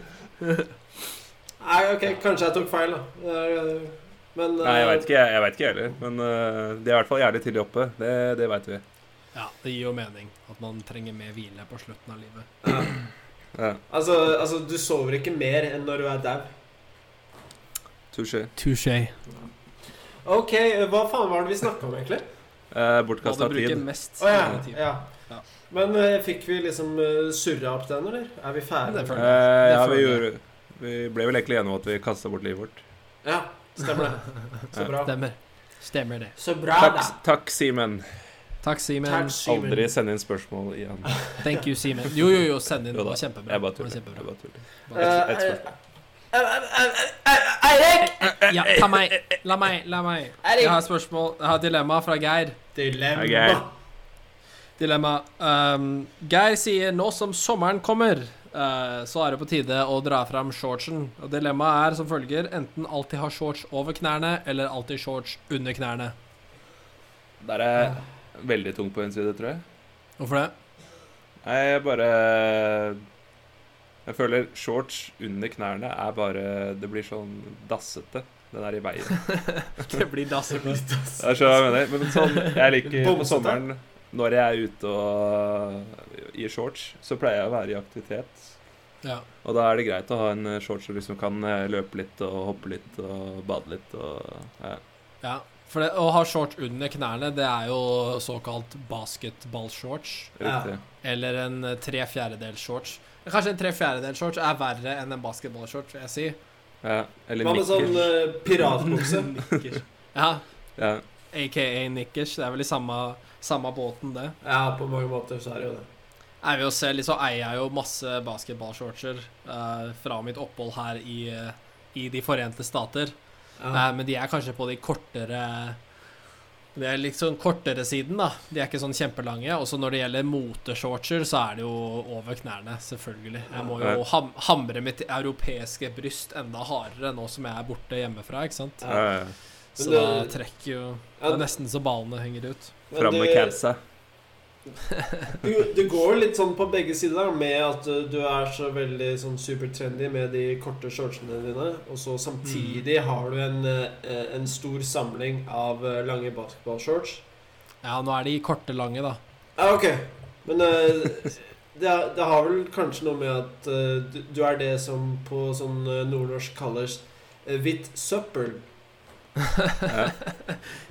Speaker 2: Nei, ok, kanskje jeg tok feil, da. Eh, Men
Speaker 3: Nei, jeg veit ikke, jeg, jeg vet ikke heller. Men øh, de er i hvert fall jævlig tidlig oppe. Det, det veit vi.
Speaker 4: Ja, det gir jo mening at man trenger mer hvile på slutten av livet.
Speaker 3: Ja,
Speaker 2: Altså, altså, du sover ikke mer enn når du er dau.
Speaker 3: Touché.
Speaker 4: Touché.
Speaker 2: Ok, hva faen var det vi snakka om, egentlig?
Speaker 3: Eh,
Speaker 4: Og
Speaker 3: Bortkasta
Speaker 4: det bruker
Speaker 3: tid.
Speaker 4: mest
Speaker 2: Å
Speaker 4: tid.
Speaker 2: ja, ja. Men eh, fikk vi liksom uh, surra opp den, eller? Er vi
Speaker 4: Det
Speaker 2: ferdige?
Speaker 4: føler
Speaker 3: Eh,
Speaker 4: Det
Speaker 3: ja, vi,
Speaker 4: føler
Speaker 3: gjorde, vi ble vel egentlig enige om at vi kasta bort livet vårt.
Speaker 2: Ja, stemmer det. Så bra.
Speaker 4: Stemmer. Stemmer det.
Speaker 2: Så bra,
Speaker 3: Takk,
Speaker 2: da.
Speaker 3: takk Simen.
Speaker 4: Takk, Simen.
Speaker 2: Takk, Simen.
Speaker 3: Aldri send inn spørsmål igjen.
Speaker 4: Thank you, Simen. Jo, jo, jo, send inn.
Speaker 3: Jo
Speaker 4: Det
Speaker 3: da,
Speaker 4: var kjempebra.
Speaker 3: Jeg bare
Speaker 4: Det var
Speaker 3: tuller. Jeg
Speaker 4: kjempebra.
Speaker 3: bare tuller.
Speaker 2: Eh,
Speaker 3: Et spørsmål.
Speaker 2: eh, eh, eh, eh, Eirik!
Speaker 4: Ja, ta meg. La meg. La meg. Jeg har et spørsmål. Jeg har et dilemma fra Geir.
Speaker 2: Dilemma.
Speaker 3: Hei, Geir.
Speaker 4: Dilemma. Ehm, Geir sier nå som sommeren kommer, eh, så er det på tide å dra fram shortsen. Og dilemmaet er som følger enten alltid ha shorts over knærne, eller alltid shorts under knærne.
Speaker 3: Der er jeg veldig tung på en side, tror jeg.
Speaker 4: Hvorfor det?
Speaker 3: Nei, jeg bare Jeg føler shorts under knærne er bare Det blir sånn dassete. Den er i veien.
Speaker 4: Det blir dassepust.
Speaker 3: Det er så jeg mener. Men sånn, jeg liker på
Speaker 2: Bomsete.
Speaker 3: sommeren når jeg er ute og i shorts, så pleier jeg å være i aktivitet.
Speaker 4: Ja.
Speaker 3: Og da er det greit å ha en eh, shorts som liksom kan eh, løpe litt og hoppe litt og bade litt og ja.
Speaker 4: ja. For det, å ha shorts under knærne, det er jo såkalt basketballshorts.
Speaker 3: Riktig.
Speaker 4: Eller en eh, tre fjerdedels shorts. Kanskje en tre fjerdedels shorts er verre enn en basketballshorts, vil jeg si.
Speaker 3: Ja. Eller
Speaker 2: Hva med sånn
Speaker 3: nikkers.
Speaker 2: eh, piratbukse?
Speaker 4: Ja,
Speaker 3: Ja.
Speaker 4: aka nikkers. Det er vel i samme, samme båten, det.
Speaker 2: Ja, på mange måter så er det jo det.
Speaker 4: Jeg vil jo se, liksom, eier jeg jo masse basketballshortser eh, fra mitt opphold her i, eh, i De forente stater.
Speaker 2: Ja.
Speaker 4: Eh, men de er kanskje på de kortere Det er liksom kortere siden, da. De er ikke sånn kjempelange. Og så når det gjelder moteshortser, så er det jo over knærne, selvfølgelig. Jeg må jo ham hamre mitt europeiske bryst enda hardere nå som jeg er borte hjemmefra, ikke sant.
Speaker 3: Ja, ja.
Speaker 4: Så
Speaker 2: Men
Speaker 4: da
Speaker 2: det-
Speaker 4: trekker jo Det
Speaker 2: Ja,
Speaker 4: er nesten så ballene henger ut.
Speaker 2: men
Speaker 3: Fram med
Speaker 2: det-
Speaker 3: capsa.
Speaker 2: Du, du går litt sånn på begge sider med at uh, du er så veldig sånn supertrendy med de korte shortsene dine, og så samtidig
Speaker 4: Mm.
Speaker 2: har du en, uh, en stor samling av uh, lange basketballshorts.
Speaker 4: Ja, nå er de korte lange, da.
Speaker 2: Ja, ok. Men uh, det, er- det har vel kanskje noe med at uh, du, du er det som på sånn uh, nordnorsk kalles uh, hvitt søppel.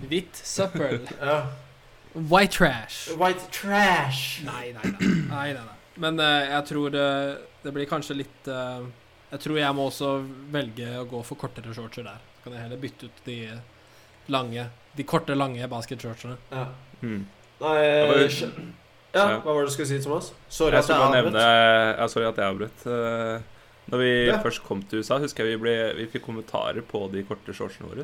Speaker 4: Hvitt søppel.
Speaker 2: Ja.
Speaker 4: White trash.
Speaker 2: White trash.
Speaker 4: Nei, nei, nei. nei, nei, nei. Men eh, jeg tror eh, det blir kanskje litt eh, Jeg tror jeg må også velge å gå for kortere shortser der. Så kan jeg heller bytte ut de lange De korte, lange basketshortsene.
Speaker 2: Ja.
Speaker 3: Hmm.
Speaker 2: Nei
Speaker 3: Ja, men-
Speaker 2: uh, ja,
Speaker 3: Ja.
Speaker 2: hva var det du skulle si, Thomas? Sorry
Speaker 3: Jeg
Speaker 2: at
Speaker 3: skulle
Speaker 2: jeg
Speaker 3: bare
Speaker 2: avbrøt.
Speaker 3: nevne ja, Sorry at jeg avbrøt. Eh, Når vi
Speaker 2: Ja.
Speaker 3: først kom til USA, husker jeg vi, ble, vi fikk kommentarer på de korte shortsene våre.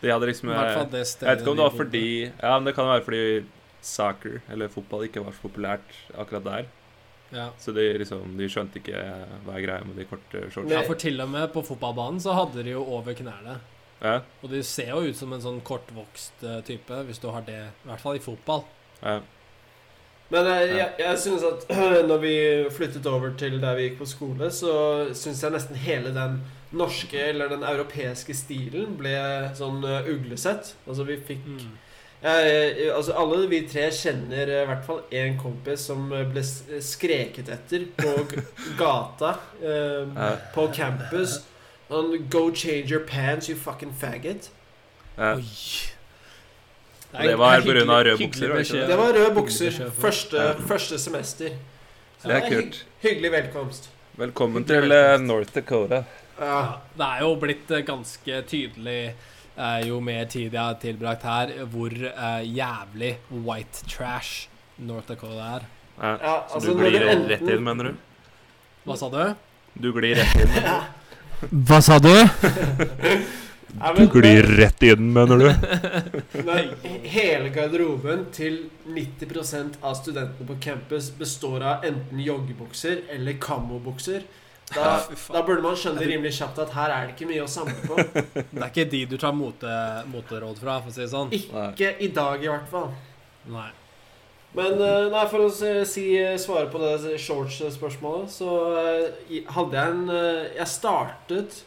Speaker 3: De hadde
Speaker 4: I
Speaker 3: liksom eh,
Speaker 4: hvert fall det
Speaker 3: Jeg vet ikke om det var
Speaker 4: vi bodde.
Speaker 3: fordi Ja, men det kan være fordi soccer eller fotball ikke var så populært akkurat der.
Speaker 4: ja.
Speaker 3: Så de liksom De skjønte ikke hva er greia med de korte
Speaker 4: ja,
Speaker 3: shortsene.
Speaker 2: Nei.
Speaker 4: for til og med på fotballbanen så hadde de jo over knærne.
Speaker 3: Ja,
Speaker 4: Og de ser jo ut som en sånn kortvokst eh, type, hvis du har det, i hvert fall i fotball.
Speaker 3: ja.
Speaker 2: Men jeg, jeg, jeg synes at når vi flyttet over til der vi gikk på skole, så syns jeg nesten hele den norske eller den europeiske stilen ble sånn eh, uglesett. Altså vi fikk
Speaker 4: Mm.
Speaker 2: jeg, altså Alle vi tre kjenner eh, i hvert fall én kompis som eh, ble s- skreket etter på g- gata, eh,
Speaker 3: Ja,
Speaker 2: på campus. Sånn, Go change your pants, you fucking faggot.
Speaker 3: ja.
Speaker 4: Oi.
Speaker 3: Og det var
Speaker 4: hyggelig-
Speaker 3: på grunn av røde
Speaker 4: hyggelig
Speaker 3: bukser, var det ikke
Speaker 4: beskjed.
Speaker 2: Det var røde
Speaker 4: Hyggelig
Speaker 2: bukser
Speaker 4: beskjed.
Speaker 2: første,
Speaker 3: Ja.
Speaker 2: første semester. Så
Speaker 3: Det er
Speaker 2: hygg-
Speaker 3: kult.
Speaker 2: Hyggelig velkomst.
Speaker 3: Velkommen til eh, North Dakota.
Speaker 2: Ja.
Speaker 4: Ja, det er jo blitt eh, ganske tydelig eh, jo mer tid jeg har tilbrakt her, hvor eh, jævlig white trash North Dakota er.
Speaker 3: Ja.
Speaker 2: Ja,
Speaker 3: Så
Speaker 2: altså,
Speaker 3: du
Speaker 2: når
Speaker 3: glir
Speaker 2: du
Speaker 3: rett
Speaker 2: enten
Speaker 3: inn, mener du?
Speaker 4: Hva sa du?
Speaker 3: Du glir rett inn.
Speaker 4: Hva sa du?
Speaker 2: Ja, men-
Speaker 3: rett inn, mener du?
Speaker 2: Men hele garderoben til 90 av studentene på campus består av enten joggebukser eller kamobukser. Da,
Speaker 4: Fy faen.
Speaker 2: da burde man skjønne rimelig kjapt at her er det ikke mye å samle på.
Speaker 4: Det er ikke de du tar mote, moteråd fra, for å si det sånn.
Speaker 3: Nei.
Speaker 2: Ikke i dag, i hvert fall.
Speaker 4: Nei.
Speaker 2: Men eh, nei, for å s- si, eh, svare på det shorts-spørsmålet, så eh, i- hadde jeg en eh, Jeg startet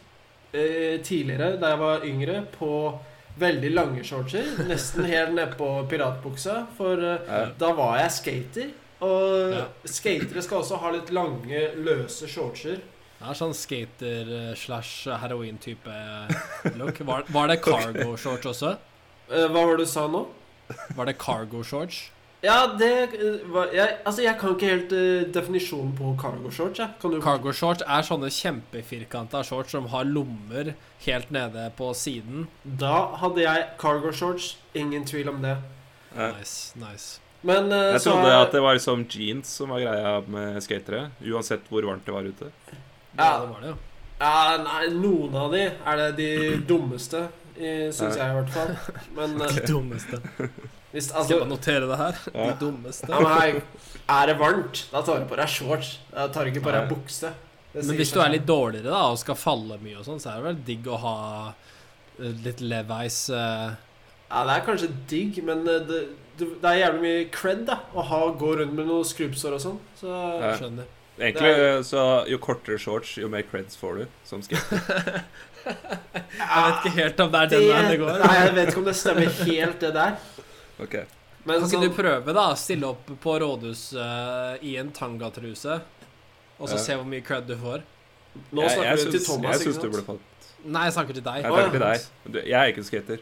Speaker 2: eh, tidligere, da jeg var yngre, på veldig lange shortser. Nesten helt nedpå piratbuksa. For eh,
Speaker 3: Ja.
Speaker 2: Da var jeg skater. Og
Speaker 4: Ja.
Speaker 2: skatere skal også ha litt lange, løse shortser.
Speaker 4: Det er sånn skater-slash-heroin-type eh, look. Var, var det cargo shorts også?
Speaker 2: Eh, hva var det du sa nå?
Speaker 4: Var det cargo shorts?
Speaker 2: Ja, det eh, var jeg, Altså, jeg kan ikke helt eh, definisjonen på cargo shorts, jeg. Kan du
Speaker 4: Cargo shorts er sånne kjempefirkanta shorts som har lommer helt nede på siden.
Speaker 2: Da hadde jeg cargo shorts. Ingen tvil om det.
Speaker 3: Ja.
Speaker 4: Nice, nice.
Speaker 2: Men eh,
Speaker 3: Jeg
Speaker 2: så
Speaker 3: trodde
Speaker 2: er-
Speaker 3: at det var liksom jeans som var greia med skatere. Uansett hvor varmt det var ute.
Speaker 4: Ja, det var det, jo.
Speaker 2: ja, Nei, noen av de er det de dummeste, syns jeg i hvert fall. Men eh,
Speaker 4: De dummeste.
Speaker 2: hvis
Speaker 4: Skal jeg
Speaker 2: altså
Speaker 4: bare notere det her?
Speaker 3: Ja.
Speaker 4: De dummeste.
Speaker 2: ja, men hei, Er det varmt, da tar du på deg shorts. Da tar du ikke på deg
Speaker 3: Nei.
Speaker 2: bukse. Det
Speaker 4: Men
Speaker 2: sier
Speaker 4: hvis
Speaker 2: seg
Speaker 4: du er
Speaker 2: selv.
Speaker 4: litt dårligere da og skal falle mye og sånn, så er det vel digg å ha eh, litt Levi's eh,
Speaker 2: Ja, det er kanskje digg, men eh, det, det, det er jævlig mye cred da å ha, gå rundt med noen skrubbsår og sånn. Så
Speaker 3: Ja.
Speaker 4: Skjønner.
Speaker 3: Egentlig så jo kortere shorts, jo mer creds får du som skater.
Speaker 4: Jeg vet ikke helt om det er
Speaker 2: det,
Speaker 4: den veien det går.
Speaker 2: Nei, jeg vet ikke om det stemmer helt, det der.
Speaker 3: Ok.
Speaker 2: Men
Speaker 4: Kan
Speaker 2: sånn,
Speaker 4: ikke du prøve, da? Stille opp på rådhus eh, i en tangatruse, og så
Speaker 3: Ja.
Speaker 4: se hvor mye cred du får?
Speaker 2: nå
Speaker 3: Jeg- jeg
Speaker 2: snakker du til
Speaker 3: syns-
Speaker 2: Thomas,
Speaker 3: Jeg syns
Speaker 2: ikke
Speaker 3: du
Speaker 2: sant?
Speaker 3: burde fått
Speaker 4: Nei, jeg snakker til deg.
Speaker 3: Jeg
Speaker 2: Å, ja.
Speaker 3: tenker til deg. Du, jeg er ikke skater.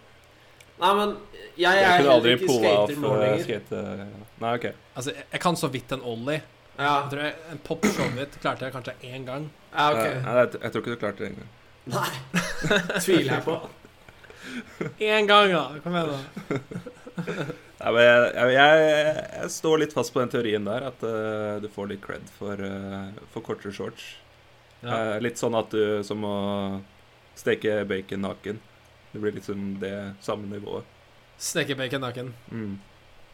Speaker 2: Nei, men jeg
Speaker 3: Jeg
Speaker 2: er
Speaker 3: kunne
Speaker 2: heller
Speaker 3: aldri
Speaker 2: ikke
Speaker 3: pola off
Speaker 2: skater nå
Speaker 3: eh,
Speaker 2: lenger.
Speaker 3: skate... Nei, OK.
Speaker 4: Altså, jeg- jeg kan så vidt en ollie.
Speaker 2: Ja,
Speaker 4: Jeg tror jeg, En pop-showet klarte jeg kanskje én gang.
Speaker 2: ja, Ah,
Speaker 3: Eh,
Speaker 2: ok.
Speaker 3: Nei, jeg, jeg tror ikke du klarte det engang.
Speaker 2: Nei, tviler jeg på.
Speaker 4: Én gang, da! Kom igjen, da.
Speaker 3: Nei, men jeg, jeg, jeg, jeg står litt fast på den teorien der, at eh, du får litt cred for, eh, for kortere shorts.
Speaker 4: Ja.
Speaker 3: Eh, litt sånn at du som å steke bacon naken. Det blir liksom det samme nivået.
Speaker 4: Steker bacon naken.
Speaker 3: Mm.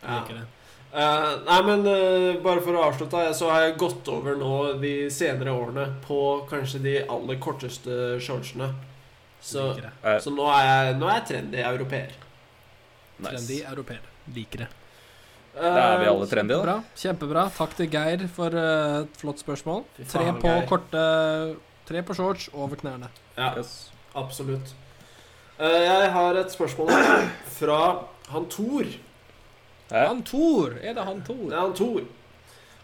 Speaker 2: Ja.
Speaker 4: Liker det.
Speaker 2: Eh, nei, men eh, bare for å avslutte, her, så har jeg gått over nå de senere årene på kanskje de aller korteste shortsene. Så,
Speaker 4: Liker det.
Speaker 3: Eh,
Speaker 2: så nå, er jeg, nå er jeg trendy europeer.
Speaker 4: Trendy europeer. Liker det.
Speaker 3: Da er vi alle trendy, da.
Speaker 4: Bra. Kjempebra. Takk til Geir for eh, et flott spørsmål.
Speaker 2: Fy
Speaker 4: Tre
Speaker 2: faen,
Speaker 4: på
Speaker 2: Geir.
Speaker 4: korte Tre på shorts over knærne.
Speaker 2: Eh, Ja,
Speaker 3: Yes.
Speaker 2: absolutt. Eh, jeg har et spørsmål her fra han Thor.
Speaker 3: Eh,
Speaker 4: Han Tor! Er det han
Speaker 2: Det
Speaker 4: Tor?
Speaker 2: er han Thor.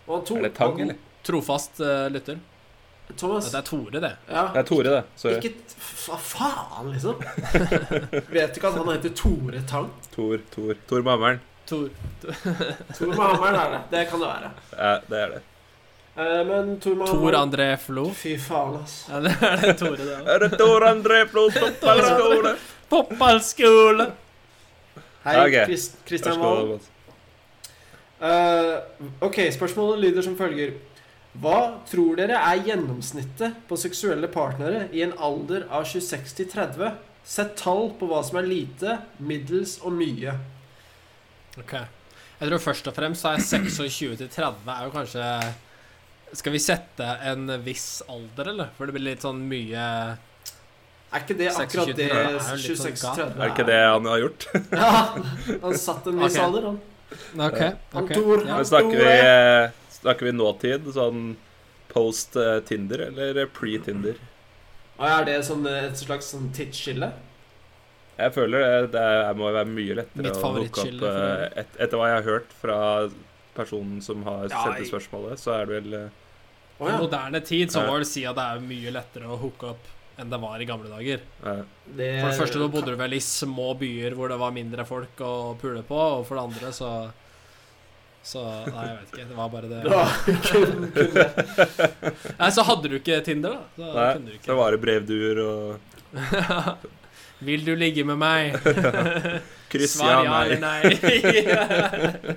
Speaker 2: Og han Thor
Speaker 3: Er det Tang,
Speaker 2: han-
Speaker 3: eller?
Speaker 4: Trofast eh, lytter.
Speaker 2: Thomas.
Speaker 4: Dette er Tore, det.
Speaker 2: Ja.
Speaker 3: Det er Tore, det. Sorry.
Speaker 2: Ikke t- Hva faen, liksom? Vet ikke at han heter Tore Tang.
Speaker 3: Tor, Tor. Tor Mammeren.
Speaker 4: Tor.
Speaker 2: Tor med hammeren er det. Det kan det være.
Speaker 3: Eh, det er det.
Speaker 2: Eh, men Tor med
Speaker 4: Tor André Flo.
Speaker 2: Fy faen, ass.
Speaker 4: Ja, det er det Tore, det. da.
Speaker 3: Er det Tor André Flo fotballskole?
Speaker 4: Fotballskole!
Speaker 2: Hei,
Speaker 3: Ok.
Speaker 2: Krist
Speaker 3: Vær
Speaker 2: Christian
Speaker 3: så god.
Speaker 2: Valen.
Speaker 3: Mats.
Speaker 2: Eh, ok, spørsmålet lyder som følger. Hva tror dere er gjennomsnittet på seksuelle partnere i en alder av 26 til 30? Sett tall på hva som er lite, middels og mye.
Speaker 4: Ok. Jeg tror først og fremst så er 26 til 30 er jo kanskje Skal vi sette en viss alder, eller? For det blir litt sånn mye
Speaker 2: Er ikke det akkurat det
Speaker 4: 26 til 30 er jo litt sånn
Speaker 2: 26 til 30
Speaker 3: Er det ikke det han har gjort?
Speaker 2: Ja, han satt en viss
Speaker 4: Ok.
Speaker 2: alder, han.
Speaker 4: Ok, ok.
Speaker 2: Kontor.
Speaker 4: Ja.
Speaker 3: Men snakker vi, eh, snakker vi nåtid, sånn post eh, Tinder eller pre-Tinder?
Speaker 2: Og er det sånn, eh, et slags sånn tidsskille?
Speaker 3: Jeg føler det, det er- må være mye lettere
Speaker 4: Mitt
Speaker 3: å hooke
Speaker 4: favorittskille,
Speaker 3: opp
Speaker 4: for
Speaker 3: eh,
Speaker 4: øvrig.
Speaker 3: et, Etter hva jeg har hørt fra personen som har
Speaker 4: Ja,
Speaker 3: sendt
Speaker 4: jeg-
Speaker 3: det spørsmålet, så er det vel eh,
Speaker 2: Å
Speaker 4: I
Speaker 2: ja.
Speaker 4: moderne tid så
Speaker 3: Ja.
Speaker 4: må jeg vel si at det er mye lettere å hooke opp enn det var i gamle dager.
Speaker 3: eh,
Speaker 2: Det,
Speaker 4: For det første så bodde du vel i små byer hvor det var mindre folk å pule på, og for det andre så Så Nei, jeg vet ikke. Det var bare det.
Speaker 2: Ja, kun, kun det.
Speaker 4: Nei, så hadde du ikke Tinder, da. Så
Speaker 3: Nei,
Speaker 4: kunne du
Speaker 3: så
Speaker 4: ikke.
Speaker 3: var det brevduer og
Speaker 4: Vil du ligge med meg?
Speaker 3: kryss,
Speaker 4: Svar
Speaker 3: ja,
Speaker 4: ja eller
Speaker 3: nei.
Speaker 4: nei.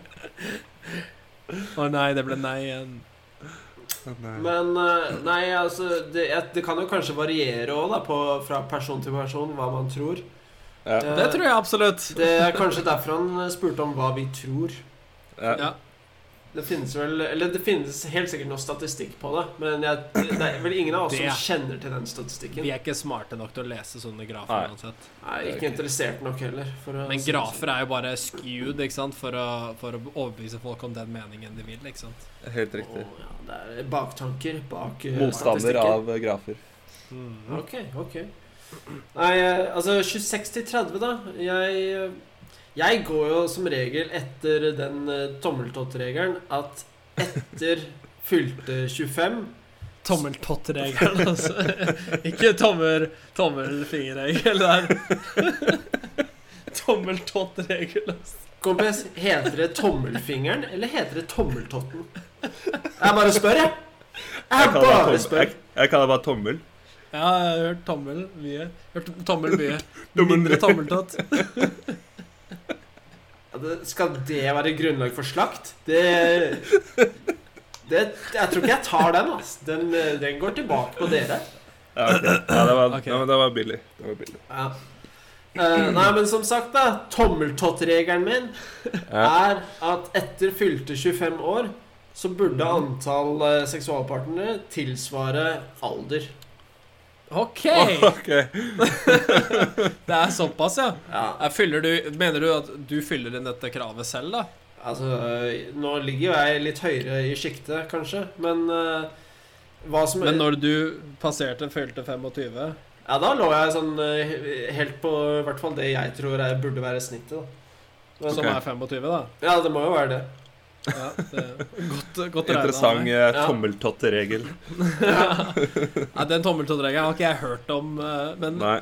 Speaker 4: Å nei, det ble nei igjen.
Speaker 2: Men eh, nei, altså Det, jeg- det kan jo kanskje variere òg, da, på, fra person til person, hva man tror. Eh,
Speaker 3: Ja.
Speaker 4: Det tror jeg absolutt.
Speaker 2: Det er kanskje derfor han eh, spurte om hva vi tror.
Speaker 3: Ja.
Speaker 4: Ja.
Speaker 2: Det finnes vel Eller det finnes helt sikkert noe statistikk på det, men jeg, det er vel ingen av oss
Speaker 4: Det-
Speaker 2: som kjenner til den statistikken.
Speaker 4: Vi er ikke smarte nok til å lese sånne grafer
Speaker 3: Nei.
Speaker 4: uansett.
Speaker 2: Nei, ikke interessert nok heller. For å
Speaker 4: Men
Speaker 2: si det sånn.
Speaker 4: grafer er jo bare skewed ikke sant? For, å, for å overbevise folk om den meningen de vil. Ikke sant?
Speaker 3: Helt riktig.
Speaker 2: sånn. Å, ja, det er baktanker bak eh,
Speaker 3: Motstander
Speaker 2: statistikken.
Speaker 3: av eh, grafer.
Speaker 2: Ok, ok. Mm. Nei, eh, altså 26 til 30, da. Jeg, eh, jeg går jo som regel etter den eh, tommeltottregelen at etter fylte 25
Speaker 4: Tommeltottregelen, altså. Ikke tommer, tommelfingerregel der. Tommeltottregel, altså.
Speaker 2: Kompis, heter det tommelfingeren, eller heter det tommeltotten? Jeg bare spør, jeg. Jeg
Speaker 3: Jeg kaller det
Speaker 2: bare
Speaker 3: bare,
Speaker 2: spør.
Speaker 3: jeg, jeg kaller det bare tommel.
Speaker 4: Ja, jeg har hørt tommel mye. Hørt tommel mye. Mindre tommeltott.
Speaker 2: Ja, det- Skal det være grunnlag for slakt? Det, det Jeg tror ikke jeg tar den, ass. Den, eh, den går tilbake på dere.
Speaker 3: Ja, ok. ja, det, var,
Speaker 4: Ok.
Speaker 3: ja, men det var billig. Det var billig.
Speaker 2: Ja. Eh, nei, men som sagt, da. Tommeltottregelen min
Speaker 3: Ja.
Speaker 2: er at etter fylte 25 år så burde antall eh, seksualpartnere tilsvare alder.
Speaker 4: OK!
Speaker 3: Ok.
Speaker 4: Det er såpass, ja.
Speaker 2: Ja,
Speaker 4: Jeg Fyller du, mener du at du fyller inn dette kravet selv, da?
Speaker 2: Altså, øh, nå ligger jo jeg litt høyere i sjiktet, kanskje, men øh, hva som
Speaker 4: Men når du passerte fylte 25
Speaker 2: Ja, da lå jeg sånn øh, helt på i hvert fall det jeg tror er, burde være snittet, da. Men,
Speaker 4: Som er 25, da.
Speaker 2: Ja, det må jo være det.
Speaker 4: Ja, det, godt godt
Speaker 3: Interessant eh,
Speaker 4: regnet
Speaker 2: Ja.
Speaker 3: tommeltottregel.
Speaker 4: av meg. Nei, den tommeltottregelen har ikke jeg hørt om. eh, Men
Speaker 3: Nei.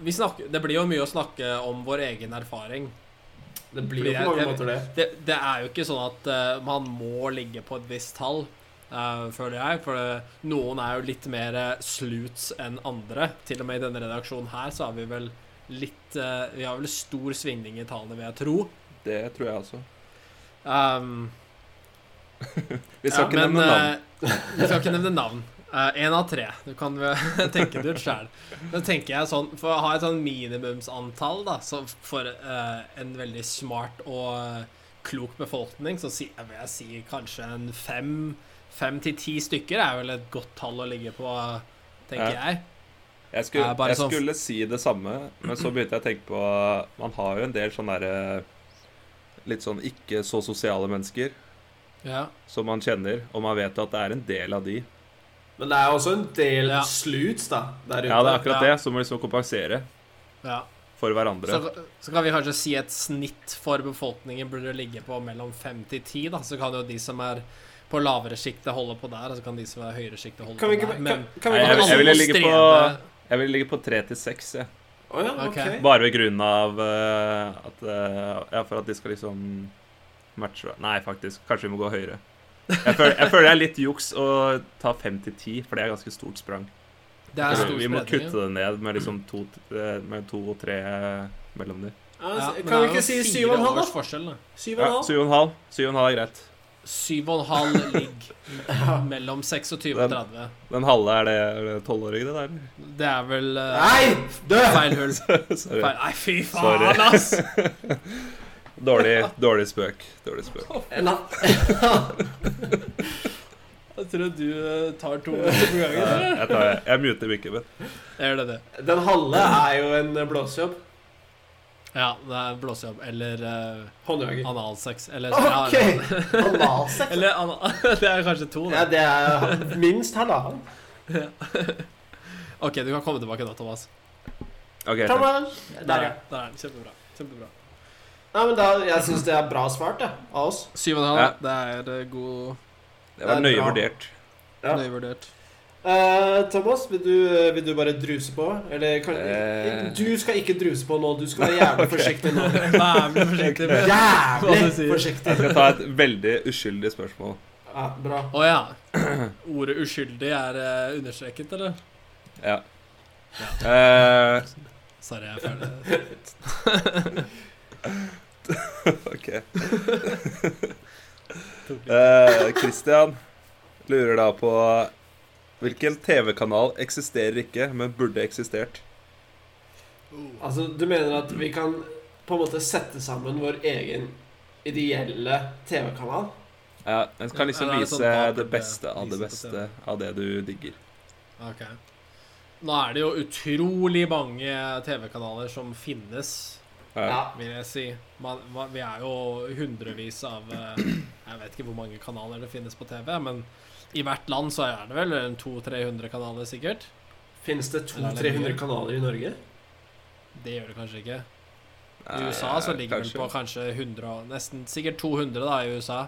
Speaker 4: vi snakker, det blir jo mye å snakke om vår egen erfaring.
Speaker 2: Det blir jo
Speaker 4: Fordi
Speaker 2: på mange
Speaker 4: jeg-
Speaker 2: måter det.
Speaker 4: Det, det er jo ikke sånn at eh, man må ligge på et visst tall, eh, føler jeg. For det, noen er jo litt mer eh, sluts enn andre. Til og med i denne redaksjonen her så har vi vel litt eh, Vi har vel stor svingning i tallene, vil jeg tro.
Speaker 3: Det tror jeg også.
Speaker 4: Um,
Speaker 3: Vi skal
Speaker 4: Ja,
Speaker 3: ikke
Speaker 4: men,
Speaker 3: nevne navn.
Speaker 4: eh, vi skal ikke nevne navn. Én av tre. Du kan vel tenke det ut sjæl. Men tenker jeg sånn, for å ha et sånn minimumsantall da, så for eh, en veldig smart og eh, klok befolkning, så si, jeg vil jeg si kanskje en fem, fem til ti stykker er vel et godt tall å ligge på, tenker
Speaker 3: Ja.
Speaker 4: jeg.
Speaker 3: Jeg, skulle,
Speaker 4: Eh, bare
Speaker 3: jeg
Speaker 4: sånn-
Speaker 3: skulle si det samme, men så begynte jeg å tenke på Man har jo en del sånne derre Litt sånn ikke så sosiale mennesker
Speaker 4: Ja.
Speaker 3: som man kjenner, og man vet jo at det er en del av de.
Speaker 2: Men det er også en del
Speaker 4: Ja.
Speaker 2: sluts, da, der ute.
Speaker 3: Ja, det er akkurat
Speaker 4: Ja.
Speaker 3: det. Så må liksom kompensere
Speaker 4: ja.
Speaker 3: for hverandre.
Speaker 4: Så, så kan vi kanskje si et snitt for befolkningen burde ligge på mellom 5 til 10, da. Så kan jo de som er på lavere sjiktet holde på der, og så kan de som er høyere sjiktet holde
Speaker 2: Kan vi
Speaker 4: på
Speaker 2: ikke
Speaker 4: der. Men
Speaker 2: kan, kan vi
Speaker 3: Nei,
Speaker 2: ikke
Speaker 3: jeg, jeg
Speaker 2: alle-
Speaker 3: ville ligge på
Speaker 4: streve-
Speaker 3: Jeg vil ligge på tre til seks, jeg.
Speaker 2: Å ja, ok.
Speaker 4: Ok.
Speaker 3: Bare ved grunn av eh, at eh, Ja, for at de skal liksom matche Nei, faktisk. Kanskje vi må gå høyere. Jeg føler, jeg føler det er litt juks å ta fem til ti, for det er ganske stort sprang.
Speaker 4: Det er stor
Speaker 3: vi må
Speaker 4: spredning.
Speaker 3: kutte det ned med liksom to, eh, med to og tre eh, mellom dem.
Speaker 2: Ja, altså,
Speaker 4: Ja, men
Speaker 2: kan
Speaker 4: det
Speaker 2: vi
Speaker 4: er
Speaker 2: ikke
Speaker 4: jo
Speaker 2: si
Speaker 4: fire
Speaker 2: 7,5,
Speaker 4: års
Speaker 2: da?
Speaker 4: forskjell, da?
Speaker 2: 7,5?
Speaker 3: Ja, syv og en halv. Syv og en halv er greit.
Speaker 4: 7,5 ligger mellom 26 og
Speaker 3: Den-
Speaker 4: 30.
Speaker 3: Den halve, er det, er det tolvårige, det der?
Speaker 4: Det er vel eh,
Speaker 2: Nei! Dø!
Speaker 4: feil hull.
Speaker 3: Sorry.
Speaker 4: Feil. Nei, fy
Speaker 3: Sorry.
Speaker 4: faen, ass!
Speaker 3: Dårlig, dårlig spøk. Dårlig spøk.
Speaker 2: En annen-
Speaker 4: Jeg tror du eh, tar to minutter på gangen.
Speaker 3: Eh, Jeg, tar, jeg muter mikken min.
Speaker 4: Gjør det det?
Speaker 2: Den halve er jo en blåsejobb.
Speaker 4: Ja, det er blåsejobb eller eh,
Speaker 2: Håndjager.
Speaker 4: analsex. Eller, ja,
Speaker 2: OK! Analsex.
Speaker 4: eller ana Det er kanskje to,
Speaker 2: Ja,
Speaker 4: det.
Speaker 2: det er minst halvannen.
Speaker 4: OK, du kan komme tilbake da, Thomas.
Speaker 3: OK.
Speaker 2: Kom
Speaker 3: takk.
Speaker 2: an. Der, ja.
Speaker 4: Der er den. Kjempebra. Kjempebra.
Speaker 2: Nei, men da, jeg syns det er bra svart jeg, av oss.
Speaker 4: Syv og en halv.
Speaker 3: Ja.
Speaker 4: Det er eh, god
Speaker 3: Det var
Speaker 2: Det er
Speaker 3: nøye
Speaker 2: bra.
Speaker 3: vurdert.
Speaker 2: Ja.
Speaker 4: nøye vurdert.
Speaker 2: Eh, Thomas, vil du, vil du bare druse på? Eller kan,
Speaker 3: Eh.
Speaker 2: Du skal ikke druse på nå. Du skal være jævlig forsiktig nå.
Speaker 4: Jævlig forsiktig med
Speaker 2: Jævlig
Speaker 4: Hva du sier.
Speaker 2: forsiktig.
Speaker 3: Jeg skal ta et veldig uskyldig spørsmål.
Speaker 2: Ja, bra.
Speaker 4: Å ja. Ordet 'uskyldig' er eh, understreket, eller?
Speaker 3: Ja. Eh,
Speaker 4: Sorry, jeg er ferdig.
Speaker 3: OK. Eh, Christian lurer da på Hvilken TV-kanal eksisterer ikke, men burde eksistert?
Speaker 2: Altså, du mener at vi kan på en måte sette sammen vår egen ideelle TV-kanal?
Speaker 3: Ja, Den kan liksom
Speaker 4: Ja, det er
Speaker 3: vise
Speaker 4: sånn bakgrunn,
Speaker 3: det beste
Speaker 4: ja.
Speaker 3: av det
Speaker 4: Vise på
Speaker 3: beste av det du digger.
Speaker 4: Ok. Nå er det jo utrolig mange TV-kanaler som finnes,
Speaker 2: Ja.
Speaker 3: Ja.
Speaker 4: vil jeg si. Man, man, vi er jo hundrevis av eh, Jeg vet ikke hvor mange kanaler det finnes på TV, men i hvert land så er det vel en 200-300 kanaler, sikkert.
Speaker 2: Finnes det
Speaker 4: Eller er det
Speaker 2: 200-300
Speaker 4: mye?
Speaker 2: kanaler i Norge?
Speaker 4: Det gjør det kanskje ikke. I
Speaker 3: Nei,
Speaker 4: USA så ligger det
Speaker 3: kanskje.
Speaker 4: vel på kanskje 100 og Nesten sikkert 200 da i USA.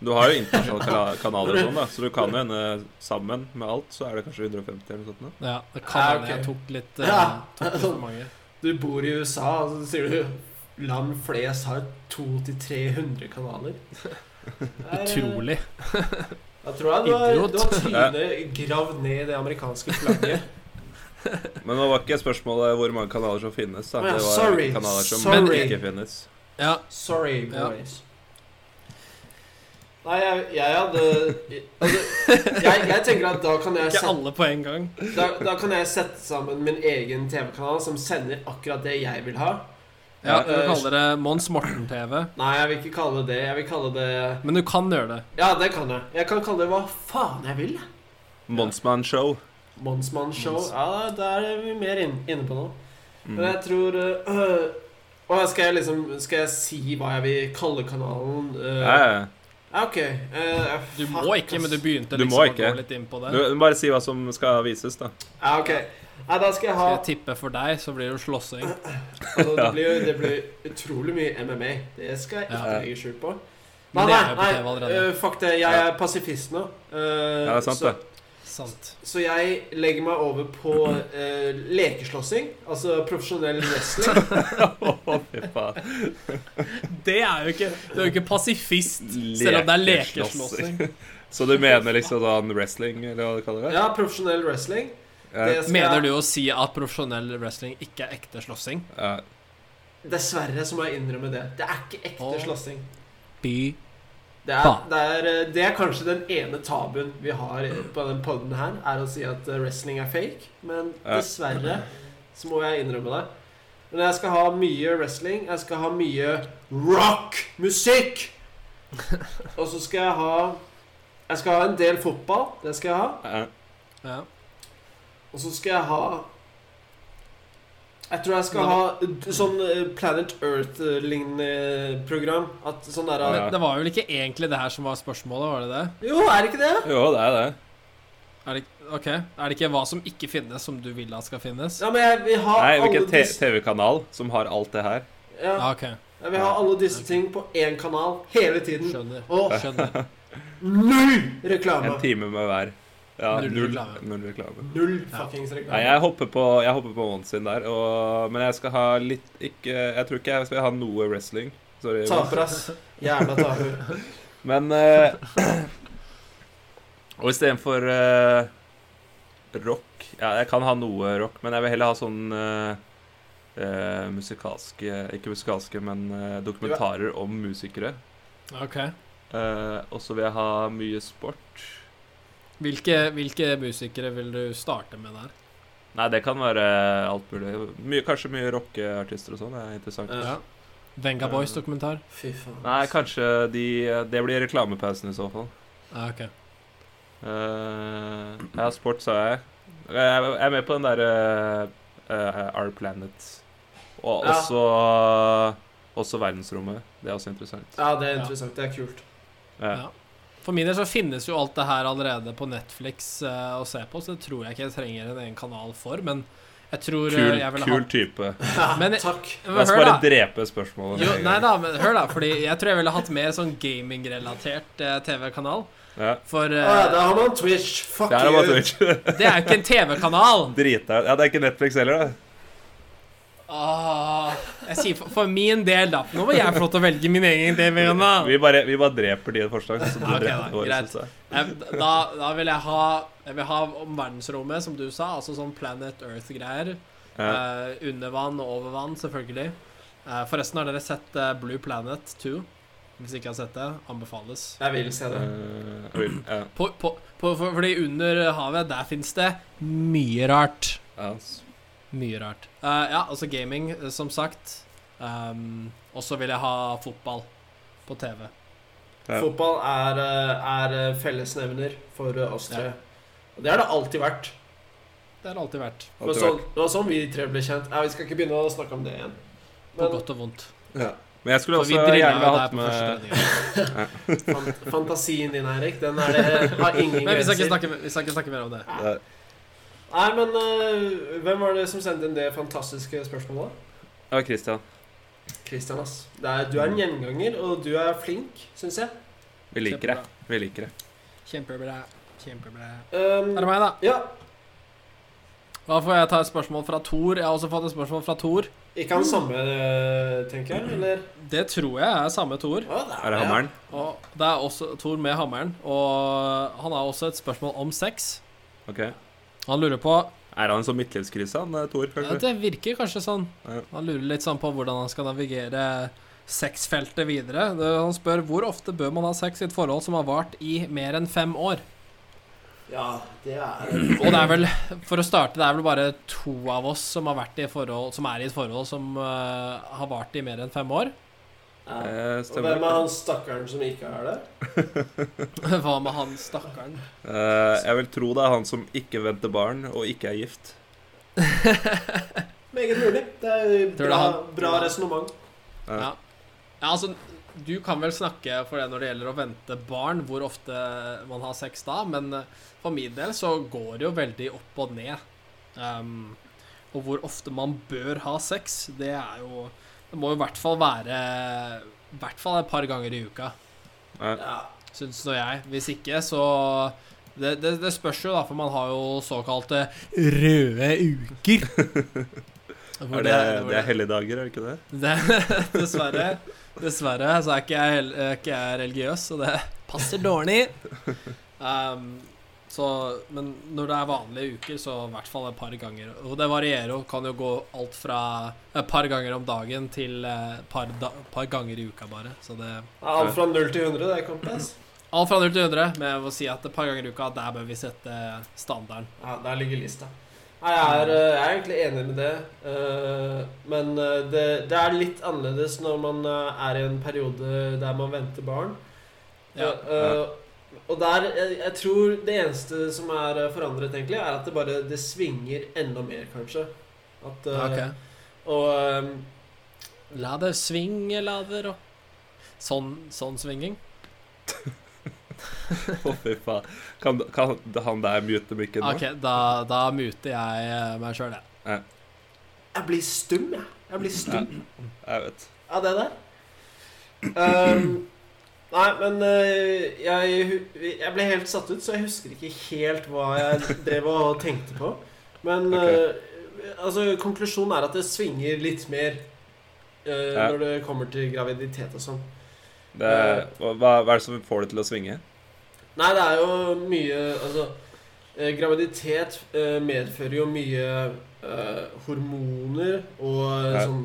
Speaker 3: Du har jo internasjonale kana- kanaler og sånn, da, så du kan jo hende sammen med alt, så er det kanskje 150 eller noe sånt. nå.
Speaker 4: Ja, det kan
Speaker 2: Ja,
Speaker 4: hende
Speaker 2: ok.
Speaker 4: jeg tok litt, eh,
Speaker 2: Ja.
Speaker 4: tok litt for mange.
Speaker 2: Du bor i USA, og så sier du land flest har 200-300 kanaler. Det er-
Speaker 4: Utrolig.
Speaker 2: Da tror jeg du har,
Speaker 4: Idiot.
Speaker 2: du har trynet gravd ned i det amerikanske flagget.
Speaker 3: Men det var ikke spørsmålet hvor mange kanaler som finnes. da.
Speaker 2: Å ja,
Speaker 3: Det var
Speaker 2: sorry,
Speaker 3: kanaler som
Speaker 2: sorry.
Speaker 3: ikke finnes.
Speaker 4: Ja,
Speaker 2: Sorry,
Speaker 4: Ja.
Speaker 2: boys. Nei, jeg, jeg hadde altså, jeg, jeg tenker at da kan jeg
Speaker 4: ikke
Speaker 2: sette,
Speaker 4: alle på en gang.
Speaker 2: da, da kan jeg sette sammen min egen TV-kanal som sender akkurat det jeg vil ha.
Speaker 4: Ja,
Speaker 3: Ja,
Speaker 4: Du
Speaker 2: eh,
Speaker 4: kaller det Mons Morten-TV,
Speaker 2: Nei, jeg vil ikke kalle det det. Jeg vil kalle det
Speaker 4: men du kan gjøre det.
Speaker 2: Ja, det kan jeg. Jeg kan kalle det hva faen jeg vil. jeg.
Speaker 3: Monsman Show.
Speaker 2: Monsmann-show.
Speaker 4: Mons.
Speaker 2: Ja, da er vi mer inn- inne på nå. Men
Speaker 3: Mm.
Speaker 2: jeg tror øh, øh, skal, jeg liksom, skal jeg si hva jeg vil kalle kanalen? øh?
Speaker 3: Ja, ja.
Speaker 2: Ja, OK. øh,
Speaker 4: Du
Speaker 2: fuck,
Speaker 4: må ikke, men du
Speaker 2: ass.
Speaker 4: begynte
Speaker 3: Du
Speaker 4: liksom
Speaker 3: må
Speaker 4: å
Speaker 3: ikke.
Speaker 4: gå litt inn på
Speaker 3: Du
Speaker 4: det.
Speaker 3: du må bare si hva som skal vises, da.
Speaker 2: Ja, OK. Nei, da skal jeg ha
Speaker 4: Skal jeg tippe for deg, så blir det jo slåssing.
Speaker 2: altså, det, blir, jo- det blir utrolig mye MMA. Det skal jeg ikke
Speaker 4: Ja.
Speaker 2: legge skjul på. Nei,
Speaker 4: Men det
Speaker 2: nei,
Speaker 4: er jo på TV
Speaker 2: nei
Speaker 4: allerede.
Speaker 2: øh, fuck det. Jeg er pasifist nå. Øh,
Speaker 3: Ja, det er sant,
Speaker 2: så,
Speaker 3: det.
Speaker 4: Sant.
Speaker 2: så jeg legger meg over på øh, lekeslåssing. Altså profesjonell wrestling.
Speaker 3: Å, fy faen.
Speaker 4: Det er jo ikke Du er jo ikke pasifist, selv om det er lekeslåssing.
Speaker 3: Så du mener liksom sånn wrestling, eller hva du kaller det?
Speaker 2: Ja, profesjonell wrestling.
Speaker 3: Ja.
Speaker 2: det skal-
Speaker 4: Mener du å si at profesjonell wrestling ikke er ekte slåssing?
Speaker 3: Ja.
Speaker 2: Dessverre så må jeg innrømme det. Det er ikke ekte
Speaker 4: Åh.
Speaker 2: slåssing.
Speaker 4: By.
Speaker 2: Det er, det, er, eh, det er kanskje den ene tabuen vi har eh, på den podden her, er å si at eh, wrestling er fake. Men
Speaker 3: Ja.
Speaker 2: dessverre så må jeg innrømme det. Men jeg skal ha mye wrestling. Jeg skal ha mye rock-musikk! Og så skal jeg ha Jeg skal ha en del fotball. Det skal jeg ha.
Speaker 3: Ja.
Speaker 4: Ja.
Speaker 2: Og så skal jeg ha Jeg tror jeg skal ha d- sånn eh, Planet Earth-lignende program. At sånn der
Speaker 3: Ja.
Speaker 4: Men det var vel ikke egentlig det her som var spørsmålet, var det det?
Speaker 2: Jo, er det ikke det?
Speaker 3: Jo, det er det.
Speaker 4: Er det, ok, er det ikke hva som ikke finnes, som du vil at skal finnes?
Speaker 2: Ja, men jeg vil ha
Speaker 3: Nei,
Speaker 2: alle
Speaker 3: hvilken te-
Speaker 2: disse
Speaker 3: TV-kanal som har alt det her?
Speaker 2: ja,
Speaker 4: Ja, ok,
Speaker 2: Jeg vil ha alle disse ting på én kanal hele tiden.
Speaker 4: skjønner.
Speaker 2: Og
Speaker 4: Skjønner.
Speaker 2: null
Speaker 3: En
Speaker 2: reklame!
Speaker 3: time med hver. Ja,
Speaker 4: Null
Speaker 3: null,
Speaker 4: reklame.
Speaker 3: null reklame.
Speaker 2: Null
Speaker 4: Ja.
Speaker 2: fuckings
Speaker 3: Nei,
Speaker 2: reklame.
Speaker 3: jeg hopper på, jeg hopper på Mons sin der, og, men jeg skal ha litt ikke, Jeg tror ikke jeg skal ha noe wrestling. Sorry. Mons.
Speaker 2: Taper, ass. Jævla taper.
Speaker 3: Men eh, Og istedenfor uh, rock Ja, jeg kan ha noe rock, men jeg vil heller ha sånn eh, eh, musikalske Ikke musikalske, men eh, dokumentarer om musikere.
Speaker 4: Ok.
Speaker 3: Eh, og så vil jeg ha mye sport.
Speaker 4: Hvilke, hvilke musikere vil du starte med der?
Speaker 3: Nei, det kan være alt mulig. Mye, kanskje mye rockeartister og sånn. Det er interessant.
Speaker 2: Ja.
Speaker 4: Ja. Venga Boys dokumentar?
Speaker 2: Fy faen.
Speaker 3: Nei, kanskje de Det blir reklamepausen i så fall.
Speaker 4: Ja, ok.
Speaker 3: Eh, ja, sport sa jeg. Jeg jeg er med på den derre Our eh, Planet. Og
Speaker 2: Ja.
Speaker 3: også, også verdensrommet. Det er også interessant.
Speaker 2: Ja, det er
Speaker 4: Ja.
Speaker 2: interessant. Det er kult.
Speaker 3: Ja.
Speaker 4: For min del så finnes jo alt det her allerede på Netflix eh, å se på, så det tror jeg ikke jeg trenger en egen kanal for, men jeg tror eh,
Speaker 3: Kul,
Speaker 4: jeg vil ha
Speaker 3: kul type.
Speaker 2: Ja,
Speaker 4: Men-
Speaker 2: takk.
Speaker 3: La
Speaker 4: Men
Speaker 3: oss
Speaker 4: hør
Speaker 3: bare
Speaker 4: da.
Speaker 3: drepe spørsmålet.
Speaker 4: Jo,
Speaker 3: med en
Speaker 4: nei
Speaker 3: gang.
Speaker 4: da, men hør da, fordi jeg tror jeg ville hatt mer sånn gaming-relatert eh, TV-kanal.
Speaker 3: Ja.
Speaker 4: For
Speaker 2: Å
Speaker 4: eh,
Speaker 2: ja, da har man Twitch. Fuck
Speaker 3: Det her er bare
Speaker 2: you.
Speaker 3: Twitch.
Speaker 4: det er jo ikke en TV-kanal!
Speaker 3: Drita Ja, det er ikke Netflix heller, da.
Speaker 4: Åh, jeg sier for, for min del, da. Nå må jeg få lov til å velge min egen TV-kanal.
Speaker 3: Vi bare, vi bare dreper dine forslag. Så du
Speaker 4: Ja, ok,
Speaker 3: drepte
Speaker 4: da.
Speaker 3: våre,
Speaker 4: Greit.
Speaker 3: synes jeg.
Speaker 4: Jeg- Eh, Da, da vil jeg ha Jeg vil ha om verdensrommet, som du sa. Altså sånn Planet Earth-greier.
Speaker 3: Ja.
Speaker 4: Eh, under vann og over vann, selvfølgelig. Eh, forresten, har dere sett eh, Blue Planet 2? Hvis ikke har sett det, anbefales.
Speaker 2: Jeg vil se det.
Speaker 3: Eh, Will, ja.
Speaker 4: På, på, på, for, fordi under havet, der fins det mye rart.
Speaker 3: Ja, s-
Speaker 4: Mye rart. Eh, ja, altså gaming, eh, som sagt. Um, og så vil jeg ha fotball på TV.
Speaker 3: ja.
Speaker 2: Fotball er, eh, er eh, fellesnevner for eh, oss tre.
Speaker 4: Ja.
Speaker 2: Og det har det alltid vært.
Speaker 4: Det har det alltid vært.
Speaker 2: Det var sånn, det var sånn vi tre ble kjent. Nei, vi skal ikke begynne å snakke om det igjen.
Speaker 4: På
Speaker 2: Men
Speaker 4: godt og vondt.
Speaker 3: Ja. Men jeg skulle
Speaker 4: For vi
Speaker 3: også
Speaker 4: drilla
Speaker 3: gjerne
Speaker 4: jo
Speaker 3: hatt
Speaker 4: deg på første
Speaker 3: med
Speaker 4: trening.
Speaker 2: fant, fantasien din, Eirik, den er det, har ingen
Speaker 4: Men vi skal,
Speaker 2: grenser.
Speaker 4: ikke snakke, vi skal ikke snakke mer om det.
Speaker 3: Ja.
Speaker 2: Nei, men eh, hvem var det som sendte inn det fantastiske spørsmålet?
Speaker 3: Det var Christian.
Speaker 2: Christian, ass. Det er, du
Speaker 3: Mm.
Speaker 2: er en gjenganger, og du er flink, syns jeg.
Speaker 3: Vi liker det. Vi liker det.
Speaker 4: Kjempebra. Kjempebra.
Speaker 2: Um,
Speaker 4: Er det meg, da?
Speaker 2: ja,
Speaker 4: Da får jeg ta et spørsmål fra Thor. Jeg har også fått et spørsmål fra Thor.
Speaker 2: ikke han samme, eh, tenker jeg, eller?
Speaker 4: Det tror jeg er samme Thor.
Speaker 2: Å, det
Speaker 3: Er det hammeren?
Speaker 4: Og det er også Thor med hammeren. Og han har også et spørsmål om sex.
Speaker 3: Ok.
Speaker 4: Han lurer på
Speaker 3: Er han så midtlivskrise, han eh, Thor,
Speaker 4: ja,
Speaker 3: kanskje?
Speaker 4: Det virker kanskje sånn.
Speaker 3: Ja.
Speaker 4: Han lurer litt sånn på hvordan han skal navigere sexfeltet videre. Det- Han spør hvor ofte bør man ha sex i et forhold som har vart i mer enn fem år?
Speaker 2: Ja, det er
Speaker 4: Og det er vel, for å starte, det er vel bare to av oss som har vært i et forhold Som er i et forhold som eh, har vart i mer enn fem år.
Speaker 2: ja.
Speaker 3: Eh,
Speaker 2: Og hvem
Speaker 3: Stemmer.
Speaker 2: er han stakkaren som ikke er det?
Speaker 4: Hva med han stakkaren?
Speaker 3: Eh, jeg vil tro det er han som ikke venter barn, og ikke er gift.
Speaker 2: Meget mulig. Det er
Speaker 4: Tror du
Speaker 2: bra,
Speaker 4: han-
Speaker 2: bra resonnement.
Speaker 3: Eh,
Speaker 4: Ja. Ja, altså, du kan vel snakke for det når det gjelder å vente barn, hvor ofte man har sex da, men eh, for min del så går det jo veldig opp og ned. Ehm, og hvor ofte man bør ha sex, det er jo Det må jo i hvert fall være I hvert fall et par ganger i uka,
Speaker 3: eh,
Speaker 2: Ja.
Speaker 4: syns nå jeg. Hvis ikke, så det, det, det spørs jo, da, for man har jo såkalte røde uker. Hvor
Speaker 3: Er det,
Speaker 4: hvor
Speaker 3: det er helligdager, er det ikke det?
Speaker 4: det, dessverre. Dessverre så er ikke jeg, hel- er ikke jeg religiøs, så det passer dårlig. Ehm, så, men når det er vanlige uker, så i hvert fall et par ganger. Og det varierer og kan jo gå alt fra et par ganger om dagen til et par, da, par ganger i uka, bare. Så det
Speaker 2: Ja, Alt fra 0 til 100, det, kompis.
Speaker 4: Alt fra 0 til 100, men jeg må si at et par ganger i uka, der bør vi sette standarden.
Speaker 2: Ja, der ligger lista. Nei, jeg er, eh, jeg er egentlig enig med det. eh, Men eh, det, det er litt annerledes når man eh, er i en periode der man venter barn.
Speaker 4: Ja.
Speaker 2: Eh, Og der jeg, jeg tror det eneste som er eh, forandret, egentlig, er at det bare det svinger enda mer, kanskje. At, eh,
Speaker 4: Ok.
Speaker 2: Og ehm,
Speaker 4: La det svinge, la det rock Sånn, sånn svinging.
Speaker 3: Å, fy faen. Kan, kan han der mute mikken nå?
Speaker 4: Ok, da, da muter jeg eh, meg sjøl, jeg.
Speaker 2: jeg blir stum, jeg. Jeg blir stum.
Speaker 3: Jeg vet.
Speaker 2: av det der. Ehm, nei, men eh, jeg, hu- jeg ble helt satt ut, så jeg husker ikke helt hva jeg drev og tenkte på. Men
Speaker 3: Ok.
Speaker 2: eh, altså, konklusjonen er at det svinger litt mer eh,
Speaker 3: Ja.
Speaker 2: når det kommer til graviditet og sånn.
Speaker 3: Det, hva, hva er det som får det til å svinge?
Speaker 2: Nei, det er jo mye Altså, eh, graviditet eh, medfører jo mye eh, hormoner og eh,
Speaker 3: Ja.
Speaker 2: sånn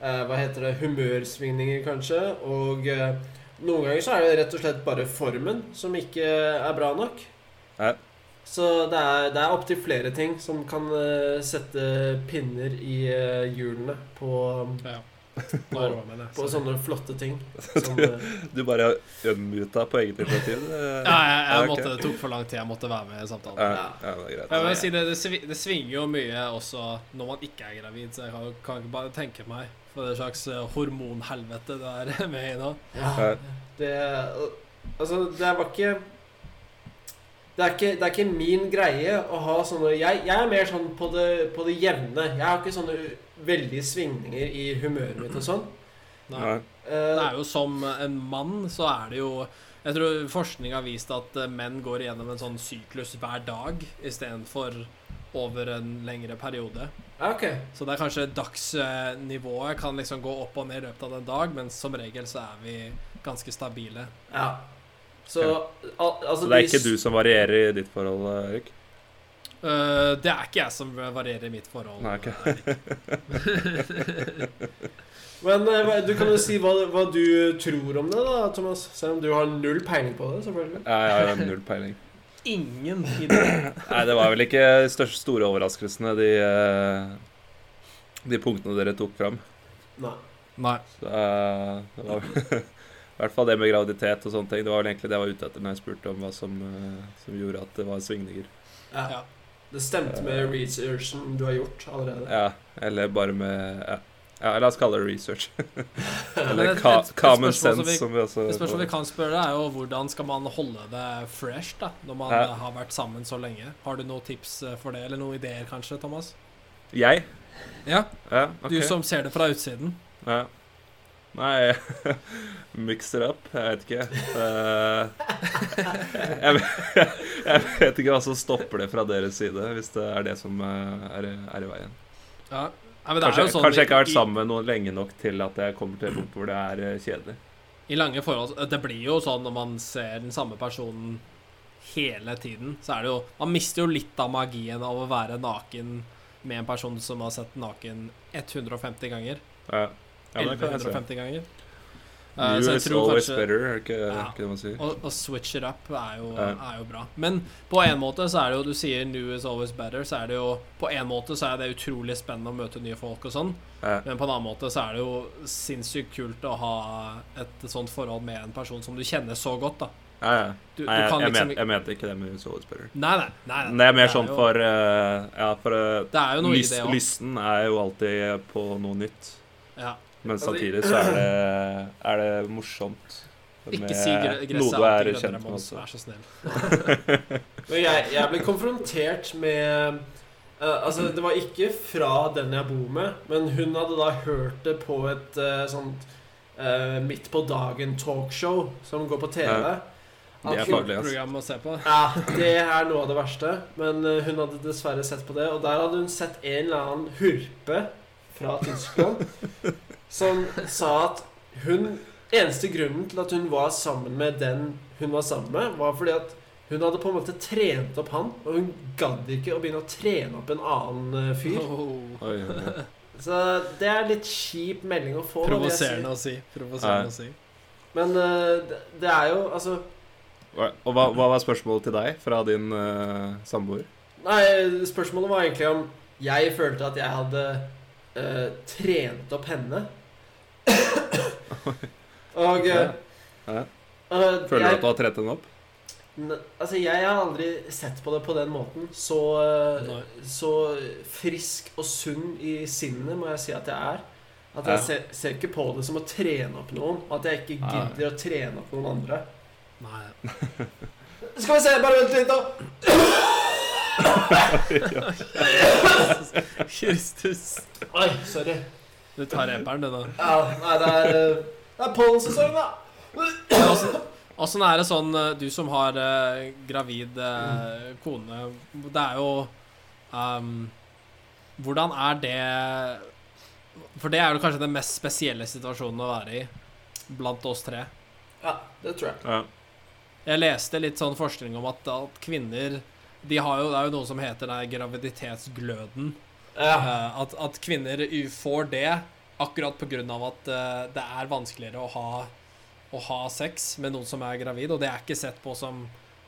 Speaker 2: eh, Hva heter det Humørsvingninger, kanskje. Og eh, noen ganger så er det rett og slett bare formen som ikke er bra nok.
Speaker 3: Ja.
Speaker 2: Så det er, det er opptil flere ting som kan eh, sette pinner i eh, hjulene på,
Speaker 4: Ja.
Speaker 2: På,
Speaker 4: Roman, ja,
Speaker 2: på
Speaker 4: så-
Speaker 2: sånne flotte ting. Som, eh,
Speaker 3: Du bare unmuta på eget initiativ? det-
Speaker 4: Ja, jeg, jeg
Speaker 3: Ja, ok.
Speaker 4: måtte, det tok for lang tid. Jeg måtte være med i samtalen.
Speaker 3: Ja, ja, det er greit.
Speaker 4: Jeg vil si det, det, svi, det svinger jo mye også når man ikke er gravid, så jeg kan, kan ikke bare tenke meg for det slags eh, hormonhelvete det er med i nå.
Speaker 2: ja,
Speaker 3: Ja.
Speaker 2: det Altså, det var ikke det er, ikke, det er ikke min greie å ha sånne Jeg, jeg er mer sånn på det, på det jevne. Jeg har ikke sånne veldige svingninger i humøret mitt og sånn.
Speaker 4: Nei.
Speaker 3: Nei.
Speaker 2: Eh,
Speaker 4: Det er jo som en mann, så er det jo Jeg tror forskning har vist at eh, menn går igjennom en sånn syklus hver dag istedenfor over en lengre periode.
Speaker 2: ja, ok.
Speaker 4: Så det er kanskje dagsnivået kan liksom gå opp og ned i løpet av en dag, men som regel så er vi ganske stabile.
Speaker 2: Ja. Så al altså
Speaker 3: Så det er
Speaker 2: de
Speaker 3: ikke du som varierer i ditt forhold, Erik?
Speaker 4: Eh, det er ikke jeg som varierer i mitt forhold.
Speaker 3: Nei, ok.
Speaker 4: Erik.
Speaker 2: Men eh, hva- du kan jo si hva, hva du tror om det, da, Thomas. Selv om du har null peiling på det, selvfølgelig.
Speaker 3: Ja, jeg har null peiling.
Speaker 4: Ingen i det.
Speaker 3: Nei, det var vel ikke de største store overraskelsene, de, eh, de punktene dere tok fram.
Speaker 2: Nei.
Speaker 4: Nei.
Speaker 3: Så, eh, det var I hvert fall det med graviditet og sånne ting. Det var vel egentlig det jeg var ute etter når jeg spurte om hva som, eh, som gjorde at det var svingninger.
Speaker 2: Ja.
Speaker 4: Ja.
Speaker 2: Det stemte med researchen du har gjort allerede.
Speaker 3: Ja, eller bare med Ja, ja la oss kalle det research.
Speaker 4: Men
Speaker 3: Eller
Speaker 4: et-
Speaker 3: ka
Speaker 4: et- et
Speaker 3: common
Speaker 4: spørsmål som
Speaker 3: sense,
Speaker 4: vi-
Speaker 3: som vi også
Speaker 4: Det spørsmålet vi kan spørre, deg er jo hvordan skal man holde det fresh da, når man
Speaker 3: Ja.
Speaker 4: eh, har vært sammen så lenge? Har du noen tips eh, for det, eller noen ideer kanskje, Thomas?
Speaker 3: Jeg?
Speaker 4: Ja,
Speaker 3: Ja, ok.
Speaker 4: du som ser det fra utsiden.
Speaker 3: Ja. Nei Mix it up? Jeg vet ikke. Eh, jeg, vet- jeg vet ikke hva som stopper det fra deres side, hvis det er det som eh, er, er i veien.
Speaker 4: Ja. Nei, men det
Speaker 3: Kanskje,
Speaker 4: er jo sånn
Speaker 3: kanskje jeg ikke har
Speaker 4: i-
Speaker 3: vært sammen med noen lenge nok til at jeg kommer til et punkt hvor det er eh, kjedelig.
Speaker 4: I lange forhold Det blir jo sånn når man ser den samme personen hele tiden, så er det jo Man mister jo litt av magien av å være naken med en person som har sett naken 150 ganger.
Speaker 3: Ja, ja men det kan jeg se.
Speaker 4: 1150 ganger. Eh,
Speaker 3: New
Speaker 4: så jeg
Speaker 3: is
Speaker 4: tror
Speaker 3: always
Speaker 4: kanskje-
Speaker 3: better, er det ikke
Speaker 4: Ja.
Speaker 3: ikke det man sier?
Speaker 4: Å, å switch it up er jo,
Speaker 3: Ja.
Speaker 4: er jo bra. Men på en måte så er det jo Du sier 'new is always better', så er det jo På en måte så er det utrolig spennende å møte nye folk og sånn,
Speaker 3: Ja.
Speaker 4: men på en annen måte så er det jo sinnssykt kult å ha et sånt forhold med en person som du kjenner så godt, da.
Speaker 3: Ja, ja.
Speaker 4: Du,
Speaker 3: Nei,
Speaker 4: du
Speaker 3: jeg,
Speaker 4: kan
Speaker 3: jeg,
Speaker 4: liksom
Speaker 3: mente, jeg mente ikke det med New Always Better.
Speaker 4: Nei, nei. nei, nei.
Speaker 3: Men det er mer sånn
Speaker 4: jo-
Speaker 3: for eh, Ja, for eh,
Speaker 4: Det er jo noe
Speaker 3: lys,
Speaker 4: i det òg.
Speaker 3: lysten er jo alltid på noe nytt.
Speaker 4: Ja.
Speaker 3: Men
Speaker 2: Altså,
Speaker 3: samtidig så er det, er det morsomt.
Speaker 4: Ikke
Speaker 3: med
Speaker 4: si gre-
Speaker 3: noe
Speaker 4: gresset
Speaker 3: du
Speaker 4: er
Speaker 3: er
Speaker 4: alltid grønnere,
Speaker 3: kjent med
Speaker 4: Mons.
Speaker 3: også.
Speaker 4: Vær så snill.
Speaker 2: Men jeg, jeg ble konfrontert med eh, Altså, det var ikke fra den jeg bor med, men hun hadde da hørt det på et eh, sånt eh, midt på dagen-talkshow som går på TV.
Speaker 3: Ja. Det er
Speaker 2: At hun-
Speaker 3: farlig, ass.
Speaker 4: Program å se på.
Speaker 2: Ja, det er noe av det verste. Men eh, hun hadde dessverre sett på det, og der hadde hun sett en eller annen hurpe fra Tyskland som sa at hun Eneste grunnen til at hun var sammen med den hun var sammen med, var fordi at hun hadde på en måte trent opp han, og hun gadd ikke å begynne å trene opp en annen eh, fyr.
Speaker 4: Oh,
Speaker 3: Oi, oi,
Speaker 2: Så det er litt kjip melding å få. da, vil jeg si.
Speaker 4: provoserende å si. Provoserende å si.
Speaker 2: Men eh, det- det er jo Altså
Speaker 3: oi. Og hva, hva var spørsmålet til deg fra din eh, samboer?
Speaker 2: Nei, spørsmålet var egentlig om jeg følte at jeg hadde eh, trent opp henne. Og eh,
Speaker 3: Ja.
Speaker 2: eh,
Speaker 3: Føler du
Speaker 2: jeg,
Speaker 3: at du har trett henne opp?
Speaker 2: N- Altså, jeg har aldri sett på det på den måten. Så, eh,
Speaker 4: Nei.
Speaker 2: så frisk og sunn i sinnet må jeg si at jeg er. At jeg
Speaker 3: Ja.
Speaker 2: ser, ser ikke på det som å trene opp noen. At jeg ikke
Speaker 3: Nei.
Speaker 2: gidder å trene opp noen andre.
Speaker 4: Nei.
Speaker 2: Skal vi se, bare vent litt, da.
Speaker 4: Kristus.
Speaker 2: Oi, sorry.
Speaker 4: Du tar reperen, du, nå.
Speaker 2: Ja, nei, det er, eh, det er pollensesong, da.
Speaker 4: Men åssen- Åssen er det sånn, eh, du som har eh, gravid eh, kone Det er jo ehm, Hvordan er det For det er jo kanskje den mest spesielle situasjonen å være i blant oss tre.
Speaker 2: Ja, det tror jeg.
Speaker 3: Ja.
Speaker 4: Jeg leste litt sånn forskning om at, at kvinner de har jo, Det er jo noe som heter den graviditetsgløden.
Speaker 2: Ja.
Speaker 4: Eh, at, at kvinner u- får det akkurat pga. at eh, det er vanskeligere å ha, å ha sex med noen som er gravid, og det er ikke sett på som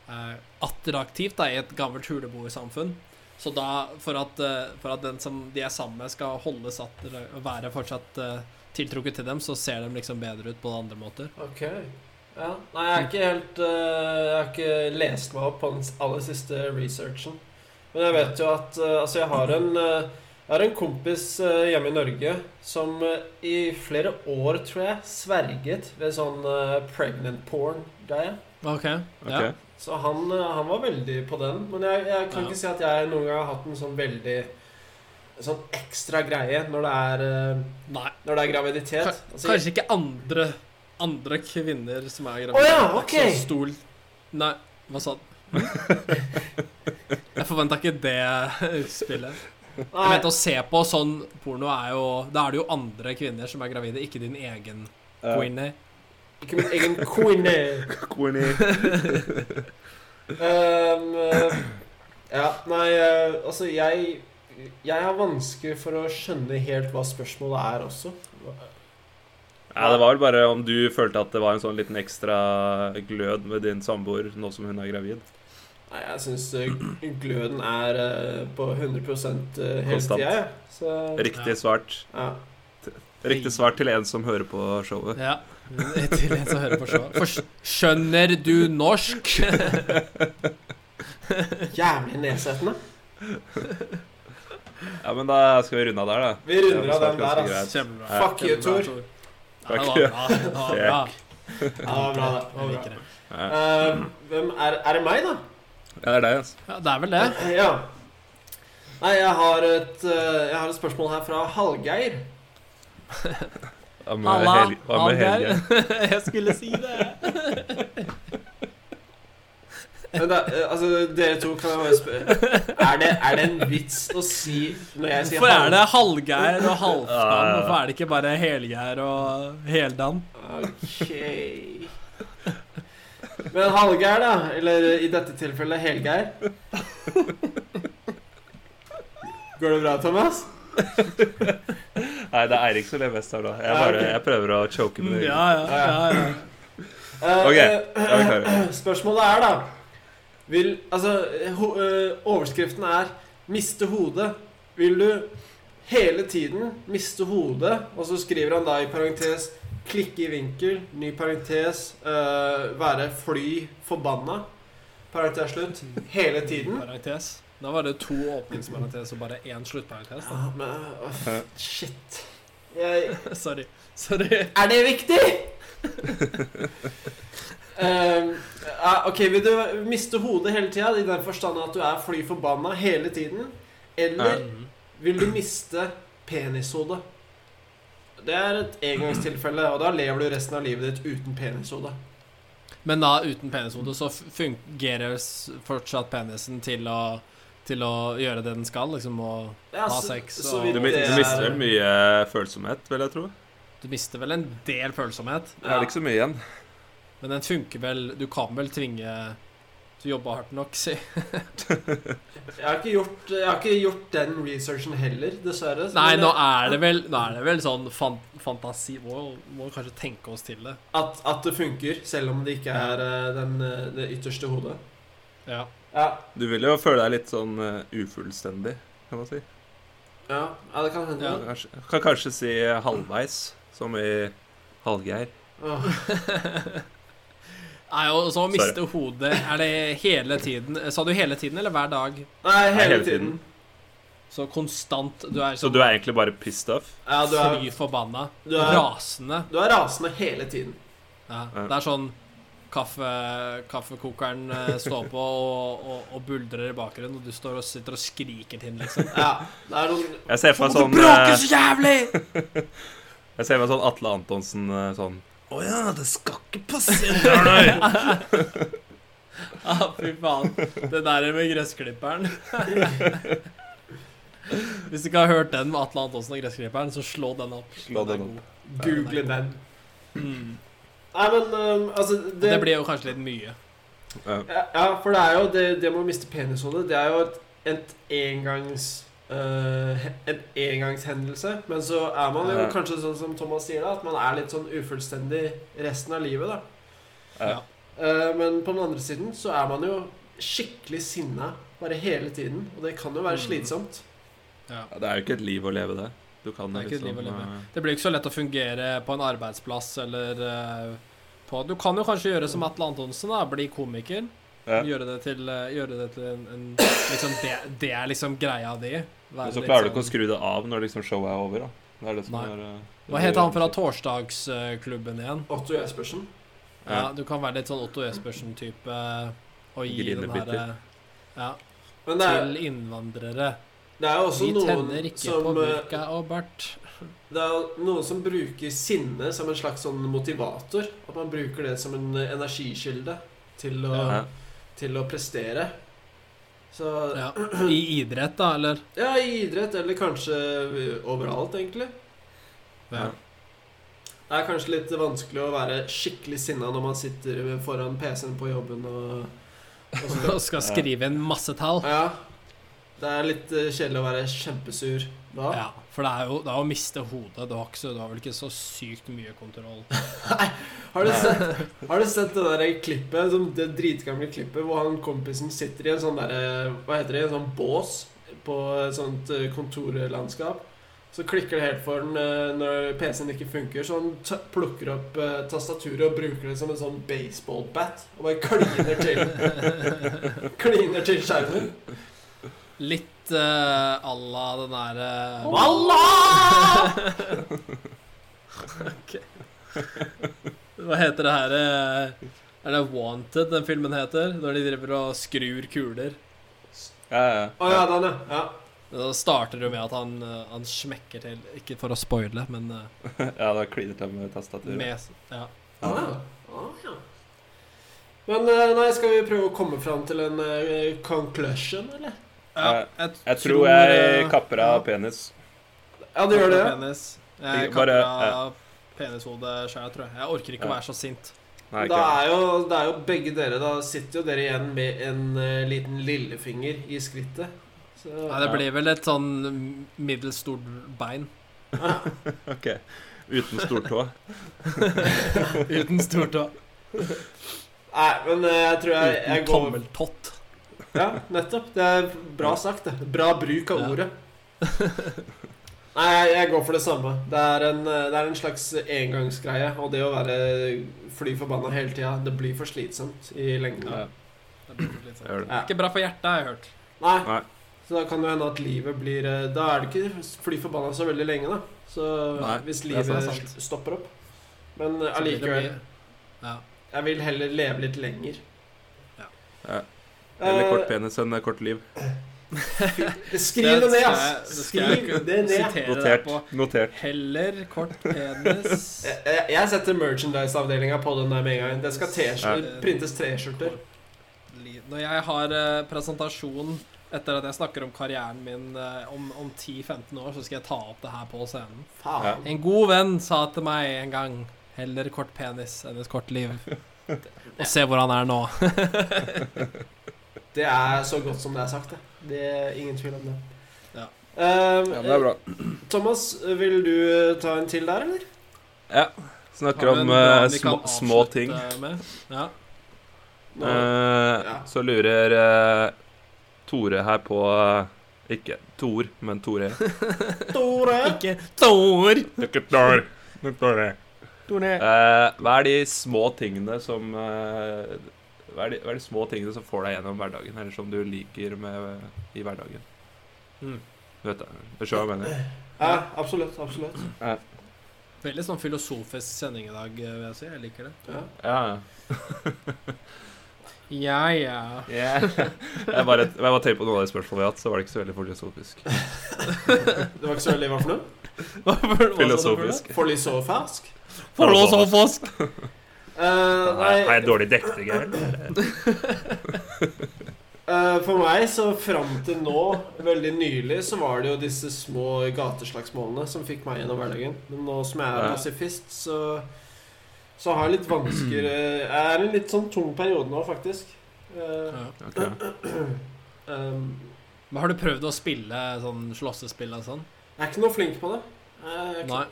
Speaker 4: eh, attraktivt da, i et gammelt huleboersamfunn. Så da, for at, eh, for at den som de er sammen med, skal holdes at være fortsatt eh, tiltrukket til dem, så ser de liksom bedre ut på andre måter.
Speaker 2: Ok. Ja. Nei, jeg har ikke helt eh, Jeg har ikke lest meg opp på den aller siste researchen. Men jeg vet jo at eh, Altså, jeg har en eh, jeg har en kompis eh, hjemme i Norge som eh, i flere år, tror jeg, sverget ved sånn eh, pregnant porn-greie.
Speaker 4: Ok, ja.
Speaker 3: Ok.
Speaker 2: Så han, eh, han var veldig på den. Men jeg, jeg kan
Speaker 4: Ja.
Speaker 2: ikke si at jeg noen gang har hatt en sånn veldig Sånn ekstra greie når det er, eh,
Speaker 4: Nei,
Speaker 2: når det er graviditet.
Speaker 4: ka-
Speaker 2: Altså, jeg-
Speaker 4: kanskje ikke andre Andre kvinner som er gravide.
Speaker 2: Å ja,
Speaker 4: Det er
Speaker 2: ok. Hm?
Speaker 4: ikke så Stor Nei, hva sa du? Jeg forventa ikke det utspillet. Jeg
Speaker 2: nei,
Speaker 4: mente å se på sånn porno er jo Da er det jo andre kvinner som er gravide, ikke din egen
Speaker 3: Eh,
Speaker 4: queenie.
Speaker 2: ikke min egen queenie.
Speaker 3: Queenie.
Speaker 2: Ehm, eh, ja, nei, eh, altså jeg Jeg har vansker for å skjønne helt hva spørsmålet er også.
Speaker 3: Ja, det var vel bare om du følte at det var en sånn liten ekstra glød med din samboer nå som hun er gravid.
Speaker 2: Nei, jeg syns gløden er eh, på 100 eh, hele
Speaker 3: Konstant.
Speaker 2: tida, jeg. Så
Speaker 3: Riktig svart.
Speaker 2: ja.
Speaker 3: Riktig svart til en som hører på showet.
Speaker 4: Ja. Til en som hører på showet. For- Skjønner du norsk?
Speaker 2: Jævlig nedsettende.
Speaker 3: Ja, men da skal vi runde av der, da.
Speaker 2: Vi runder
Speaker 3: Det
Speaker 2: av
Speaker 3: var
Speaker 2: den der,
Speaker 3: ganske
Speaker 2: ass.
Speaker 4: Kjempebra.
Speaker 2: Ja. Fuck you, Tor.
Speaker 4: Ja, det
Speaker 3: Fuck
Speaker 4: var
Speaker 3: you.
Speaker 4: bra. Det var bra.
Speaker 2: Ja, det var bra, det. Det var
Speaker 4: Jeg
Speaker 2: bra.
Speaker 4: liker det.
Speaker 3: Ja,
Speaker 2: Ehm, hvem er, er det meg, da?
Speaker 3: Ja, det er deg, altså.
Speaker 4: Ja, det er vel det.
Speaker 2: Ja. Nei, jeg har et, eh, jeg har et spørsmål her fra Hallgeir.
Speaker 3: Hva med
Speaker 4: Halla,
Speaker 3: Hel- hva med Helge?
Speaker 4: Hallgeir. Jeg skulle si det.
Speaker 2: Men da, eh, altså, dere to kan jeg bare spørre er det, er det en vits å si når jeg sier
Speaker 4: Hvorfor er det
Speaker 2: halv-
Speaker 4: Hallgeir og Halvdan?
Speaker 3: Ja, ja, ja.
Speaker 4: Hvorfor er det ikke bare Helgeir og Heldan?
Speaker 2: Ok Men Hallgeir, da. Eller eh, i dette tilfellet Helgeir. Går det bra, Thomas?
Speaker 3: Nei, det er Eirik som lever best her, da. Jeg,
Speaker 2: Ja,
Speaker 3: bare,
Speaker 2: ok.
Speaker 3: jeg prøver å choke
Speaker 4: Ja,
Speaker 3: med det.
Speaker 4: ja, ja, ja.
Speaker 2: Eh,
Speaker 3: Ok,
Speaker 2: eh,
Speaker 3: da er vi klare.
Speaker 2: Spørsmålet er, da Vil Altså, ho eh, overskriften er 'Miste hodet'. Vil du hele tiden miste hodet? Og så skriver han da i parentes 'klikke i vinkel', ny parentes, eh, 'være fly forbanna'. Parentes slutt. Hele tiden.
Speaker 4: Parentes. Da var det to åpningsparentes og bare én sluttparentes. da.
Speaker 2: Ja, men eh, åh, Shit. Jeg,
Speaker 4: Sorry. Sorry.
Speaker 2: er det viktig? Ehm, ja, ok, vil du miste hodet hele tida, i den forstand at du er fly forbanna hele tiden? Eller
Speaker 4: Mhm.
Speaker 2: vil du miste penishodet? Det er et engangstilfelle, og da lever du resten av livet ditt uten penishode.
Speaker 4: Men da uten penishode så f- fungerer s- fortsatt penisen til å, til å gjøre det den skal, liksom å
Speaker 2: Ja,
Speaker 4: Ha
Speaker 2: så-
Speaker 4: sex
Speaker 2: så
Speaker 4: og-
Speaker 2: vidt
Speaker 3: Du, mi-
Speaker 2: det
Speaker 3: du
Speaker 2: er-
Speaker 3: mister vel mye følsomhet, vil jeg tro.
Speaker 4: Du mister vel en del følsomhet,
Speaker 3: Jeg har ikke så mye igjen.
Speaker 4: men den funker vel Du kan vel tvinge Hvis du jobber hardt nok, si.
Speaker 2: Jeg har ikke gjort, jeg har ikke gjort den researchen heller, dessverre.
Speaker 4: Nei,
Speaker 2: Men
Speaker 4: nå er det vel, nå er det vel sånn fan, fantasi må, må kanskje tenke oss til det.
Speaker 2: at, at det funker, selv om det ikke er eh, den, eh, det ytterste hodet.
Speaker 4: Ja.
Speaker 2: Ja,
Speaker 3: Du vil jo føle deg litt sånn eh, ufullstendig, kan man si.
Speaker 2: ja, ja det kan hende.
Speaker 4: Ja.
Speaker 3: Kanskje, kan kanskje si eh, halvveis, som i Hallgeir.
Speaker 2: Åh.
Speaker 4: Nei, og så å miste hodet Er det hele tiden? Sa du hele tiden, eller hver dag?
Speaker 2: Nei, hele,
Speaker 3: Nei, hele
Speaker 2: tiden.
Speaker 3: tiden.
Speaker 4: Så konstant Du er
Speaker 3: Så
Speaker 4: sånn
Speaker 3: du er egentlig bare pissed off?
Speaker 2: Ja, du er,
Speaker 4: fly forbanna.
Speaker 2: du, er,
Speaker 4: Rasende.
Speaker 2: du er rasende hele tiden.
Speaker 4: Ja.
Speaker 3: Ja.
Speaker 4: Det er sånn kaffe, Kaffekokeren eh, står på og, og, og buldrer i bakgrunnen, og du står og sitter og skriker til den, liksom.
Speaker 2: Ja, det er noen
Speaker 3: Jeg ser for meg sånn eh,
Speaker 4: bråker så jævlig!
Speaker 3: Jeg ser meg sånn Atle Antonsen eh, sånn Å ja, det skal ikke passere deg!
Speaker 4: Ja, Ah, fy faen. Det der med gressklipperen. Hvis du ikke har hørt den med Atle Antonsen og gressklipperen, så slå den opp.
Speaker 3: Slå den opp.
Speaker 2: Google den.
Speaker 4: Mm.
Speaker 2: Nei, men um, altså
Speaker 4: Det
Speaker 2: det,
Speaker 4: blir jo kanskje litt mye.
Speaker 2: ja, ja, for det er jo det, det med å miste penishodet, det er jo et, et engangs... eh, he- en engangshendelse. Men så er man jo
Speaker 3: Ja.
Speaker 2: kanskje sånn som Thomas sier, da at man er litt sånn ufullstendig resten av livet. da
Speaker 3: Ja.
Speaker 2: Eh, Men på den andre siden så er man jo skikkelig sinna bare hele tiden. Og det kan jo være
Speaker 4: Mm.
Speaker 2: slitsomt.
Speaker 4: Ja.
Speaker 3: Ja, Det er jo ikke et liv å leve, det. Du Du kan
Speaker 4: Det er ikke et liv å
Speaker 3: liksom
Speaker 4: leve.
Speaker 3: eh,
Speaker 4: Det blir ikke så lett å fungere på en arbeidsplass eller eh, på Du kan jo kanskje gjøre som Atle Antonsen, da. Bli komiker.
Speaker 3: Ja.
Speaker 4: Gjøre det til, eh, gjøre det til en, en liksom det, det er liksom greia di.
Speaker 3: Men så klarer du ikke å skru det av når liksom showet er over, da. Det er det som
Speaker 4: sånn- Nei.
Speaker 3: er eh, det
Speaker 4: Hva heter han fra
Speaker 3: blir-
Speaker 4: torsdagsklubben igjen?
Speaker 2: Otto Jespersen.
Speaker 4: Ja,
Speaker 3: Ja.
Speaker 4: Du kan være litt sånn Otto Jespersen-type eh, og gi den
Speaker 3: Grinebiter.
Speaker 4: herre ja,
Speaker 2: Men det er,
Speaker 4: til innvandrere.
Speaker 2: det er jo også
Speaker 4: Vi tenner
Speaker 2: noen
Speaker 4: ikke på
Speaker 2: som eh,
Speaker 4: burka og bart.
Speaker 2: Det er jo noen som bruker sinne som en slags sånn motivator. At man bruker det som en eh, energikilde til å,
Speaker 3: Ja.
Speaker 2: til å prestere. Så
Speaker 4: Ja. I idrett, da, eller?
Speaker 2: ja, i idrett, eller kanskje eh, overalt, egentlig.
Speaker 3: Ja.
Speaker 2: Det er kanskje litt vanskelig å være skikkelig sinna når man sitter foran PC-en på jobben og, og skal-
Speaker 4: Og skal skrive inn masse tall.
Speaker 2: Ja. Det er litt eh, kjedelig å være kjempesur da.
Speaker 4: Ja, for det er jo det er å miste hodet. Du har, ikke, så- du har vel ikke så sykt mye kontroll.
Speaker 2: Har du sett, har du sett det der klippet, som det dritgamle klippet, hvor han kompisen sitter i en sånn derre Hva heter det? En sånn bås på et sånt eh, kontorlandskap. Så klikker det helt for den eh, når PC-en ikke funker, så han t plukker opp eh, tastaturet og bruker det som en sånn baseballbat. Og bare kliner til Kliner til skjermen.
Speaker 4: Litt uh, à la den eh, derre
Speaker 2: Wallah!
Speaker 4: Hva heter det her eh, Er det Wanted den filmen heter? Når de driver og skrur kuler.
Speaker 3: Ja, ja, ja.
Speaker 2: Å ja, den, ja. ja.
Speaker 4: Da starter det jo med at han, eh, han smekker til. Ikke for å spoile, men eh,
Speaker 3: ja, da kliner det med tastaturet.
Speaker 4: med Ja.
Speaker 2: Ah, ah, ja. Men eh, nei, skal vi prøve å komme fram til en eh, conclusion, eller?
Speaker 3: Ja,
Speaker 4: jeg,
Speaker 3: Jeg tror jeg
Speaker 4: eh,
Speaker 3: kapper av
Speaker 4: ja,
Speaker 3: penis.
Speaker 2: Ja, du gjør det? ja.
Speaker 4: Penis. Jeg
Speaker 3: Jeg
Speaker 4: kapper
Speaker 3: bare-
Speaker 4: av penishodet sjøl, tror jeg. Jeg orker ikke å
Speaker 3: Ja.
Speaker 4: være så sint.
Speaker 3: Nei,
Speaker 2: Da
Speaker 3: ikke.
Speaker 2: er, jo, da er jo begge dere Da sitter jo dere igjen med en eh, liten lillefinger i skrittet. Så,
Speaker 4: Nei, det
Speaker 3: Ja.
Speaker 4: blir vel et sånn middels stort bein.
Speaker 3: Ok. Uten stortå.
Speaker 4: Uten stortå.
Speaker 2: Nei, men eh, jeg tror jeg, jeg
Speaker 4: Uten
Speaker 2: går
Speaker 4: tommeltott.
Speaker 2: Ja, nettopp. Det er bra sagt, det. Bra bruk av
Speaker 4: Ja.
Speaker 2: ordet. Nei, jeg, jeg går for det samme. Det er en, eh, det er en slags engangsgreie. Og det å være fly forbanna hele tida, det blir for slitsomt i lengden.
Speaker 3: Ja,
Speaker 4: Det blir litt sånn.
Speaker 3: jeg gjør det.
Speaker 2: Ja.
Speaker 4: Ikke bra for hjertet, har jeg hørt.
Speaker 2: Nei.
Speaker 3: Nei.
Speaker 2: Så da kan det hende at livet blir eh, Da er det ikke fly forbanna så veldig lenge, da. Så
Speaker 3: Nei,
Speaker 2: hvis
Speaker 4: er sant,
Speaker 2: livet
Speaker 4: sant.
Speaker 2: sl- stopper opp. Men eh,
Speaker 4: Så blir det
Speaker 2: allikevel,
Speaker 4: mye- Ja.
Speaker 2: jeg vil heller leve litt lenger.
Speaker 3: Ja. Eller
Speaker 2: Eh,
Speaker 3: kort penis enn kort liv.
Speaker 2: Skriv det ned,
Speaker 4: skal jeg-
Speaker 2: ass!
Speaker 4: det skal jeg
Speaker 2: Skriv det ned.
Speaker 4: Sitere deg
Speaker 3: Notert.
Speaker 4: på
Speaker 3: Notert.
Speaker 4: Heller kort penis
Speaker 2: Jeg- Jeg jeg setter merchandise-avdelinga på den der med en gang. Det skal t-skjorter,
Speaker 4: Ja.
Speaker 2: printes T-skjorter.
Speaker 4: Li- Når jeg har eh, presentasjon etter at jeg snakker om karrieren min eh, om, om 10-15 år, så skal jeg ta opp det her på scenen.
Speaker 2: Faen.
Speaker 4: En god venn sa til meg en gang Heller kort penis enn et kort liv. Og se hvor han er nå.
Speaker 2: Det er så godt som det er sagt, det. Det er ingen tvil om det.
Speaker 4: Ja.
Speaker 2: Ehm,
Speaker 3: Ja, det er bra.
Speaker 2: Thomas, vil du eh, ta en til der, eller?
Speaker 3: Ja. Snakker
Speaker 4: Har vi en
Speaker 3: om
Speaker 4: bra
Speaker 3: eh,
Speaker 4: vi
Speaker 3: små,
Speaker 4: kan
Speaker 3: små
Speaker 4: avslutte
Speaker 3: ting.
Speaker 4: med? Ja.
Speaker 2: Nå-
Speaker 3: Eh,
Speaker 2: Ja.
Speaker 3: Så lurer eh, Tore her på eh, Ikke Tor, men Tore.
Speaker 2: Tore!
Speaker 4: Ikke Thor!
Speaker 3: Ikke Tor, men Tore. Eh, hva er de små tingene som eh, hva, er de, hva er de små tingene som får deg gjennom hverdagen, eller som du liker med i hverdagen?
Speaker 4: Mm.
Speaker 3: Du vet det. Du skjønner hva jeg mener?
Speaker 2: Ja, absolutt. Absolutt.
Speaker 4: Veldig sånn filosofisk sending i dag, eh, vil jeg si. Jeg liker det.
Speaker 2: Ja.
Speaker 3: Ja, ja.
Speaker 4: Ja, ja.
Speaker 3: jeg bare, jeg bare tenkte på noen av de spørsmålene vi har hatt, så var det ikke så veldig filosofisk.
Speaker 2: Det var ikke så veldig hva for noe?
Speaker 4: Hva var det- hva sa du for
Speaker 3: Filosofisk.
Speaker 2: Fordi så fersk?
Speaker 4: noe? Filosofisk.
Speaker 2: Eh,
Speaker 3: Nei, Har
Speaker 2: nei,
Speaker 3: jeg dårlig dekning her?
Speaker 2: eh, for meg så fram til nå, veldig nylig, så var det jo disse små gateslagsmålene som fikk meg gjennom hverdagen. Men nå som jeg er
Speaker 3: Ja.
Speaker 2: pasifist, så, så har jeg litt vanskeligere Jeg er i en litt sånn tung periode nå, faktisk. Eh,
Speaker 4: Ja.
Speaker 3: Ok.
Speaker 2: ehm,
Speaker 4: Men har du prøvd å spille sånn slåssespill og sånn?
Speaker 2: jeg er ikke noe flink på det. Jeg er ikke,
Speaker 4: Nei.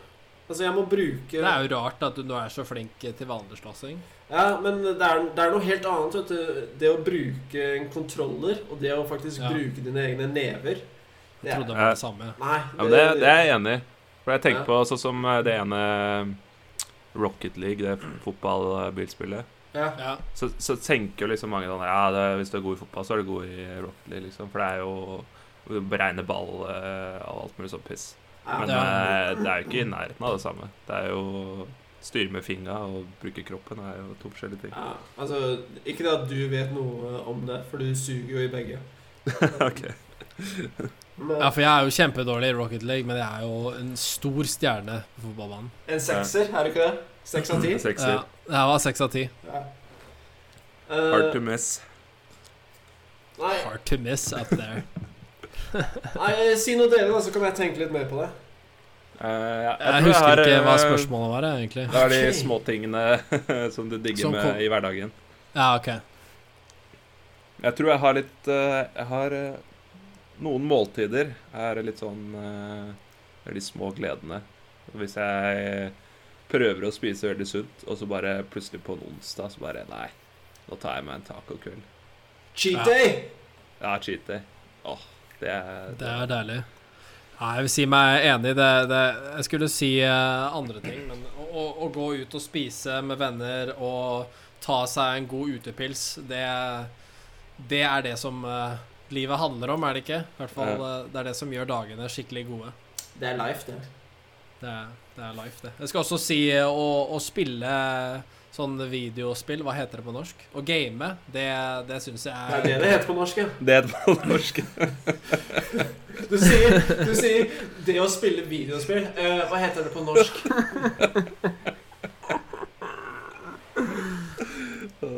Speaker 2: Altså, jeg må bruke
Speaker 4: Det er jo rart at du nå er så flink til vanlig slåssing.
Speaker 2: Ja, men det er, det er noe helt annet, vet du. Det å bruke en kontroller, og det å faktisk
Speaker 4: Ja.
Speaker 2: bruke dine egne never
Speaker 4: Jeg
Speaker 2: det,
Speaker 4: trodde det var det samme.
Speaker 2: Nei.
Speaker 3: Ja, men det, det er jeg enig i. For jeg
Speaker 2: Ja.
Speaker 3: tenker på sånn som eh, det ene Rocket League, det f- fotballbilspillet.
Speaker 2: Ja.
Speaker 4: Ja.
Speaker 3: Så, så tenker jo liksom mange sånn Ja, det, hvis du er god i fotball, så er du god i Rocket League, liksom. For det er jo å beregne ball eh, og alt mulig sånn piss. Men
Speaker 2: Ja.
Speaker 3: eh, det er jo ikke i nærheten av det samme. Det er jo Styre med fingra og bruke kroppen er jo to forskjellige ting.
Speaker 2: Ja, altså, ikke det at du vet noe om det, for du suger jo i begge.
Speaker 3: ok.
Speaker 2: Men
Speaker 4: ja, for jeg er jo kjempedårlig i Rocket League, men jeg er jo en stor stjerne på fotballbanen.
Speaker 2: eh, en sekser, er du ikke det? Seks av ti?
Speaker 3: Sekser.
Speaker 4: Ja, jeg var seks av ti.
Speaker 2: Ja.
Speaker 3: Hard
Speaker 2: Eh,
Speaker 3: to miss.
Speaker 2: nei,
Speaker 4: Hard to miss up there.
Speaker 2: nei, eh, si noe dere, da, så kan jeg tenke litt mer på det.
Speaker 3: Eh, ja, jeg tror
Speaker 4: Jeg
Speaker 3: jeg har,
Speaker 4: husker ikke hva
Speaker 3: eh,
Speaker 4: spørsmålet var, jeg, egentlig.
Speaker 3: Det er de
Speaker 2: Ok.
Speaker 3: småtingene som du digger
Speaker 4: Som
Speaker 3: med
Speaker 4: kom-
Speaker 3: i hverdagen.
Speaker 4: Ja, ok.
Speaker 3: Jeg tror jeg har litt eh, Jeg har eh, noen måltider. Er litt sånn eh, Det er de små gledene. Hvis jeg prøver å spise veldig sunt, og så bare plutselig på en onsdag så bare Nei, nå tar jeg meg en tacokveld.
Speaker 2: Cheat
Speaker 4: Ja.
Speaker 2: day!
Speaker 3: Ja, cheat day. Åh, det er,
Speaker 4: Det er deilig. Ja, jeg vil si meg enig. Det, det, jeg skulle si eh, andre ting, men å, å, å gå ut og spise med venner og ta seg en god utepils, det, det er det som eh, livet handler om, er det ikke? I hvert fall eh, det er det som gjør dagene skikkelig gode.
Speaker 2: Det er life, det.
Speaker 4: Det er, det er life, det. Jeg skal også si eh, å, å spille sånn videospill, hva heter det på norsk? Å game, det, det syns
Speaker 2: Det
Speaker 4: jeg
Speaker 2: er det det heter på norsk, ja.
Speaker 3: Det er på norsk.
Speaker 2: Du sier, du sier det å spille videospill. Eh, hva heter det på norsk?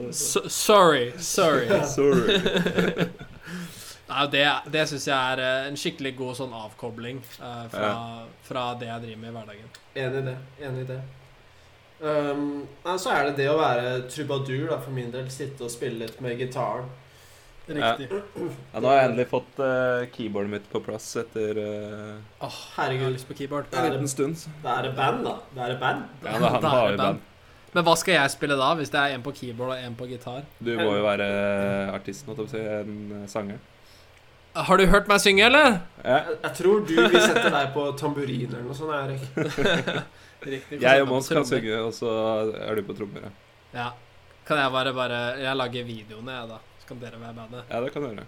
Speaker 4: S sorry, sorry.
Speaker 3: Sorry.
Speaker 4: Nei, det, det syns jeg er eh, en skikkelig god sånn avkobling eh, fra, fra det jeg driver med i hverdagen.
Speaker 2: Enig i det. Enig i det. Um, nei, så er det det å være trubadur, da, for min del. Sitte og spille litt med gitaren.
Speaker 4: Riktig.
Speaker 3: Ja, nå har jeg endelig fått eh, keyboardet mitt på plass etter eh,
Speaker 4: Jeg har
Speaker 2: Herregud.
Speaker 4: lyst på keyboard.
Speaker 2: Ja.
Speaker 3: en liten stund.
Speaker 2: Det er et band, da. Det er et band.
Speaker 3: Ja, da,
Speaker 4: Da
Speaker 3: da
Speaker 4: er
Speaker 3: har
Speaker 4: det
Speaker 3: vi band.
Speaker 4: band. Men hva skal jeg spille da, hvis det er en på keyboard og en på gitar?
Speaker 3: Du må jo være artisten, holdt jeg på å si. En eh, sanger.
Speaker 4: Har du hørt meg synge, eller?
Speaker 3: Ja.
Speaker 2: Jeg, jeg tror du vil sette deg på tamburin eller noe sånt. Erik.
Speaker 4: Riktig.
Speaker 3: Jeg og Mons kan synge, og så er du på trommer. Ja,
Speaker 4: Ja. Kan jeg bare bare Jeg lager videoene, jeg, da. Så kan dere være bandet.
Speaker 3: ja det kan du gjøre.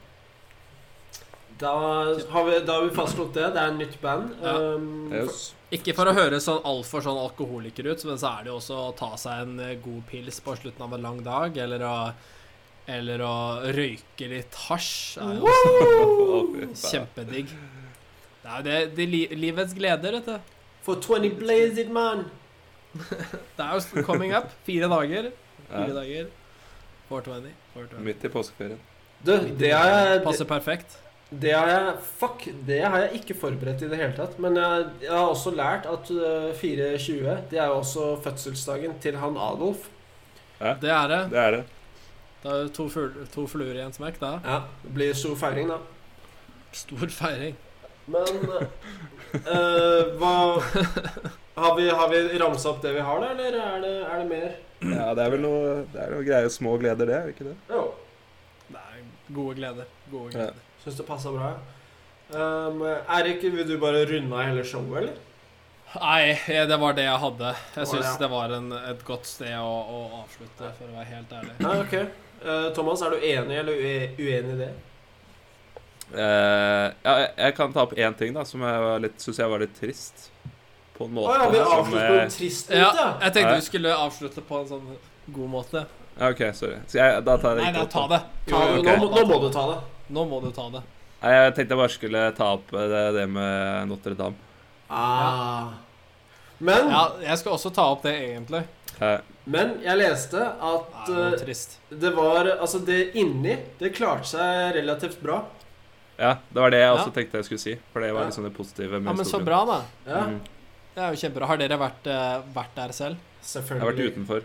Speaker 2: Da har vi, da har vi fastslått det. Det er et nytt band.
Speaker 4: Ja.
Speaker 2: Um,
Speaker 3: Yes.
Speaker 4: Ikke for å høres sånn altfor sånn alkoholiker ut, men så er det jo også å ta seg en eh, god pils på slutten av en lang dag, eller å Eller å røyke litt hasj. Er jo også
Speaker 3: Å, fy faen.
Speaker 4: Kjempedigg. Det er jo det, det er li, livets gleder, vet du.
Speaker 2: for 20 blazed man.
Speaker 4: Det er jo coming up. Fire dager. Fire
Speaker 3: Ja,
Speaker 4: dager. 420. 420.
Speaker 3: midt i påskeferien.
Speaker 2: Du, det har jeg det,
Speaker 4: Passer perfekt.
Speaker 2: det har jeg Fuck, det har jeg ikke forberedt i det hele tatt. Men jeg, jeg har også lært at øh, 420 Det er jo også fødselsdagen til han Adolf.
Speaker 4: Det er det.
Speaker 3: Det er det.
Speaker 4: Da er det to, fugl, to fluer i en smekk, da.
Speaker 2: Ja, Det blir stor feiring, da.
Speaker 4: Stor feiring.
Speaker 2: Men øh, hva har vi, har vi ramsa opp det vi har, da, eller er det, er det mer?
Speaker 3: Ja, det er vel noe, det er noe greie små gleder, det, er det ikke det?
Speaker 2: Jo.
Speaker 4: Det er gode gleder. Gode
Speaker 3: Ja.
Speaker 4: gleder.
Speaker 2: Syns det passa bra. Um, Erik, vil du bare runde av hele showet, eller?
Speaker 4: Nei, eh, det var det jeg hadde.
Speaker 2: var
Speaker 4: Jeg syns
Speaker 2: det.
Speaker 4: det var en, et godt sted å, å avslutte, for å være helt ærlig.
Speaker 2: Nei, ok. Eh, Thomas, er du enig eller ue- uenig i det?
Speaker 3: Eh, ja, jeg- jeg kan ta opp én ting da, som jeg syns jeg var litt trist. På en
Speaker 2: Å
Speaker 3: måte.
Speaker 2: ja, vi
Speaker 3: som,
Speaker 2: avslutter på
Speaker 3: eh,
Speaker 2: en trist
Speaker 4: Ja,
Speaker 2: note, ja.
Speaker 4: jeg tenkte vi skulle avslutte på en sånn god måte.
Speaker 3: ja, OK, sorry. Så jeg, da tar jeg
Speaker 4: Nei,
Speaker 3: ikke
Speaker 4: nei,
Speaker 3: opp
Speaker 4: ta
Speaker 3: det.
Speaker 4: det.
Speaker 2: Ta det.
Speaker 3: ok.
Speaker 2: Nå, må- nå må du ta det.
Speaker 4: Nå må du ta det.
Speaker 3: Nei, Jeg tenkte jeg bare skulle ta opp eh, det, det med Notre-Dame.
Speaker 2: Ah. Men,
Speaker 4: Ja, jeg skal også ta opp det, egentlig.
Speaker 3: Eh,
Speaker 2: men jeg leste
Speaker 4: Nei,
Speaker 2: at
Speaker 4: Ah, det var
Speaker 2: eh,
Speaker 4: trist.
Speaker 2: det var Altså, det inni, det klarte seg relativt bra.
Speaker 3: ja, det var det jeg
Speaker 4: Ja.
Speaker 3: også tenkte jeg skulle si. For det var
Speaker 2: Ja.
Speaker 3: liksom det positive med
Speaker 4: Ja, men så
Speaker 3: historien.
Speaker 4: bra, da.
Speaker 2: Ja,
Speaker 3: Mm.
Speaker 4: Det er jo kjempebra. Har dere vært, eh, vært der selv?
Speaker 3: Jeg har vært
Speaker 2: selvfølgelig.
Speaker 3: utenfor.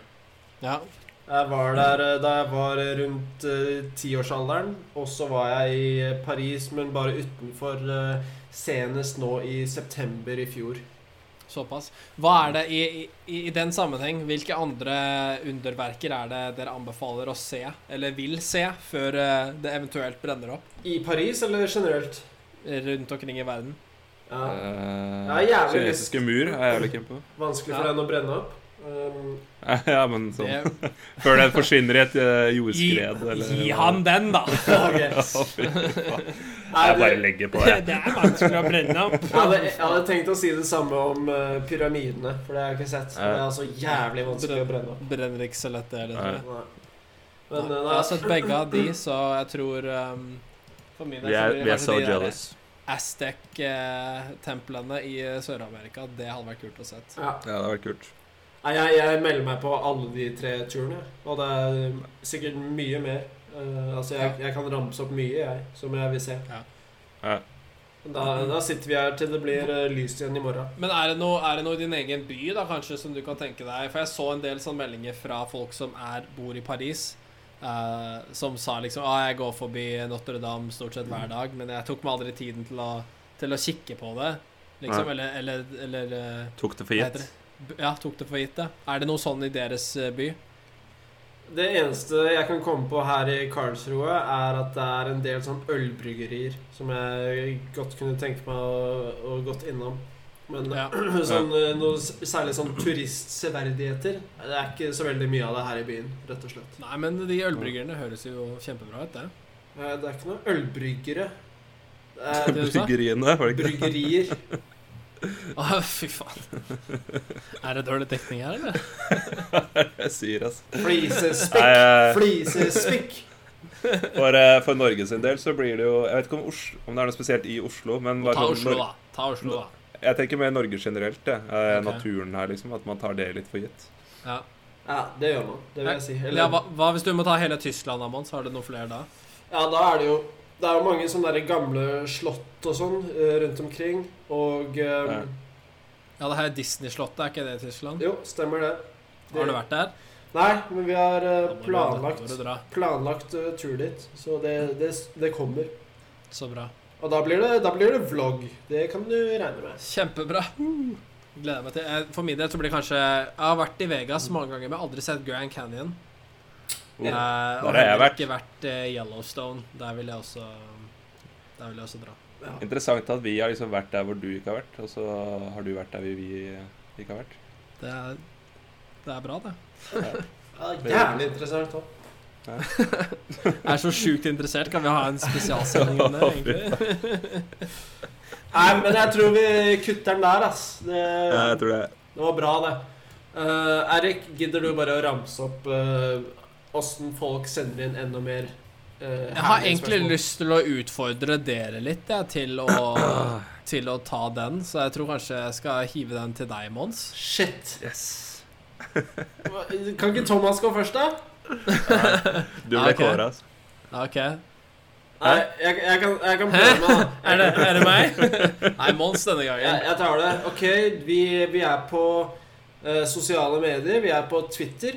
Speaker 4: Ja.
Speaker 2: Jeg var der eh, da jeg var rundt eh, tiårsalderen. Og så var jeg i eh, Paris, men bare utenfor eh, senest nå i september i fjor.
Speaker 4: Såpass. Hva er det i, i, i den sammenheng, hvilke andre underverker er det dere anbefaler å se, eller vil se, før eh, det eventuelt brenner opp
Speaker 2: I Paris, eller generelt?
Speaker 4: rundt omkring i verden?
Speaker 2: Ja.
Speaker 3: Eh,
Speaker 2: Ja, jævlig
Speaker 3: kinesiske mur er jeg jævlig keen på.
Speaker 2: Vanskelig
Speaker 4: Ja.
Speaker 2: for den å brenne opp. Um,
Speaker 3: Ja, men sånn
Speaker 4: Det-
Speaker 3: Før den forsvinner i et eh,
Speaker 5: Gi,
Speaker 3: jordskred eller
Speaker 5: gi han den, da!
Speaker 2: ok.
Speaker 3: Ja, fy faen.
Speaker 2: Er
Speaker 3: Jeg bare
Speaker 2: det-
Speaker 3: legger på, jeg.
Speaker 5: Det er vanskelig å brenne opp.
Speaker 2: jeg, hadde, jeg hadde tenkt å si det samme om eh, pyramidene, for det har jeg ikke sett. Men det er altså jævlig vanskelig å brenne opp.
Speaker 4: Brenner ikke så lett, det heller. tror jeg.
Speaker 2: Nei.
Speaker 4: Nei,
Speaker 2: Men eh,
Speaker 4: Jeg
Speaker 2: nei.
Speaker 4: har sett begge av de, så jeg tror um, For min del
Speaker 3: Vi
Speaker 4: så
Speaker 3: er,
Speaker 4: blir det
Speaker 3: vi er
Speaker 4: kanskje
Speaker 3: so
Speaker 4: de der
Speaker 3: jealous.
Speaker 4: Aztec-templene eh, i Sør-Amerika. Det hadde vært kult å se.
Speaker 2: Ja.
Speaker 3: Ja, det hadde vært kult.
Speaker 2: Nei, jeg, jeg melder meg på alle de tre turene. Og det er sikkert mye mer. Eh, altså, jeg, jeg kan ramse opp mye, jeg, som jeg vil se.
Speaker 4: Ja.
Speaker 3: Ja.
Speaker 2: Da, da sitter vi her til det blir eh, lyst igjen i morgen.
Speaker 4: Men er det, noe, er det noe i din egen by da, kanskje, som du kan tenke deg? For jeg så en del sånne meldinger fra folk som er, bor i Paris, eh, som sa liksom ah, jeg går forbi Notre-Dame stort sett hver dag, men jeg tok meg aldri tiden til å, til å kikke på det. Liksom,
Speaker 3: Nei.
Speaker 4: eller, eller, eller eh,
Speaker 3: Tok det for
Speaker 4: hva
Speaker 3: gitt.
Speaker 4: heter det? B- Ja, tok det for gitt, ja. Er det noe sånn i deres eh, by?
Speaker 2: Det eneste jeg kan komme på her i Karlsroe, er at det er en del sånn ølbryggerier som jeg godt kunne tenke meg å, å gått innom. Men
Speaker 4: Ja.
Speaker 2: sånn, eh, noe s- særlig sånn turistseverdigheter Det er ikke så veldig mye av det her i byen, rett og slett.
Speaker 4: Nei, men de ølbryggerne høres jo kjempebra ut, det.
Speaker 2: Eh, Det er ikke noe ølbryggere. Det er
Speaker 4: det du sa?
Speaker 3: Bryggeriene, var det ikke det?
Speaker 2: Bryggerier.
Speaker 4: Å, Ah, fy faen. Er det dårlig dekning her, eller?
Speaker 3: Jeg sier, altså. Nei,
Speaker 2: Flisespikk.
Speaker 3: eh,
Speaker 2: Flisespikk.
Speaker 3: For, eh, for Norge sin del så blir det jo Jeg vet ikke om, Oslo, om det er noe spesielt i Oslo, men bare
Speaker 4: Ta
Speaker 3: sånn
Speaker 4: Oslo,
Speaker 3: Nor-
Speaker 4: da. Ta Oslo, da.
Speaker 3: Jeg tenker mer Norge generelt, jeg. Eh,
Speaker 4: Ok.
Speaker 3: Naturen her, liksom. At man tar det litt for gitt.
Speaker 4: Ja.
Speaker 2: Ja, det gjør man. Det vil jeg si. Eller,
Speaker 4: ja, hva, hva hvis du må ta hele Tyskland, Amon? Så har du noen flere da?
Speaker 2: ja, da er det jo Det er jo mange sånne der gamle slott og sånn eh, rundt omkring. Og eh,
Speaker 3: Ja.
Speaker 4: Ja, det her er Disney-slottet, er ikke det i Tyskland?
Speaker 2: Jo, stemmer det. det.
Speaker 4: Har du vært der?
Speaker 2: Nei, men vi har eh,
Speaker 4: Da må du-
Speaker 2: planlagt
Speaker 4: da må du dra.
Speaker 2: Planlagt eh, tur dit. Så det, det, det kommer.
Speaker 4: Så bra.
Speaker 2: Og da blir, det, da blir det vlogg. Det kan du regne med.
Speaker 4: Kjempebra. Gleder meg til Jeg- For min del så blir det kanskje Jeg har vært i Vegas mange ganger, men aldri sett Grand Canyon.
Speaker 3: Oh,
Speaker 4: Eh, og
Speaker 3: har jeg
Speaker 4: heller
Speaker 3: vært.
Speaker 4: ikke vært eh, Yellowstone. Der vil jeg også Der vil jeg også dra.
Speaker 2: Ja.
Speaker 3: Interessant at vi har liksom vært der hvor du ikke har vært, og så har du vært der vi, vi ikke har vært.
Speaker 4: Det er, det er bra, det.
Speaker 2: Ja, jævlig interessant. Da.
Speaker 4: Jeg er så sjukt interessert. Kan vi ha en spesialsending om det, egentlig?
Speaker 2: Nei, men jeg tror vi kutter den der, ass. Det,
Speaker 3: Ja, jeg tror det.
Speaker 2: Det var bra, det. Eh, Erik, gidder du bare å ramse opp eh, åssen folk sender inn enda mer eh,
Speaker 4: Jeg har
Speaker 2: herlige
Speaker 4: egentlig
Speaker 2: spørsmål?
Speaker 4: lyst til å utfordre dere litt jeg, til, å, til å ta den, så jeg tror kanskje jeg skal hive den til deg, Mons.
Speaker 2: Shit!
Speaker 3: Yes.
Speaker 2: Hva- Kan ikke Thomas gå først, da?
Speaker 3: Du
Speaker 4: Ah,
Speaker 3: ble
Speaker 4: ok.
Speaker 3: kåra, altså.
Speaker 4: OK.
Speaker 2: Nei, jeg, jeg kan, jeg kan prøve meg, da.
Speaker 4: Er det, er det meg? Nei, Mons denne
Speaker 2: Jeg,
Speaker 4: gangen.
Speaker 2: jeg tar det. OK, vi, vi er på eh, sosiale medier. Vi er på Twitter.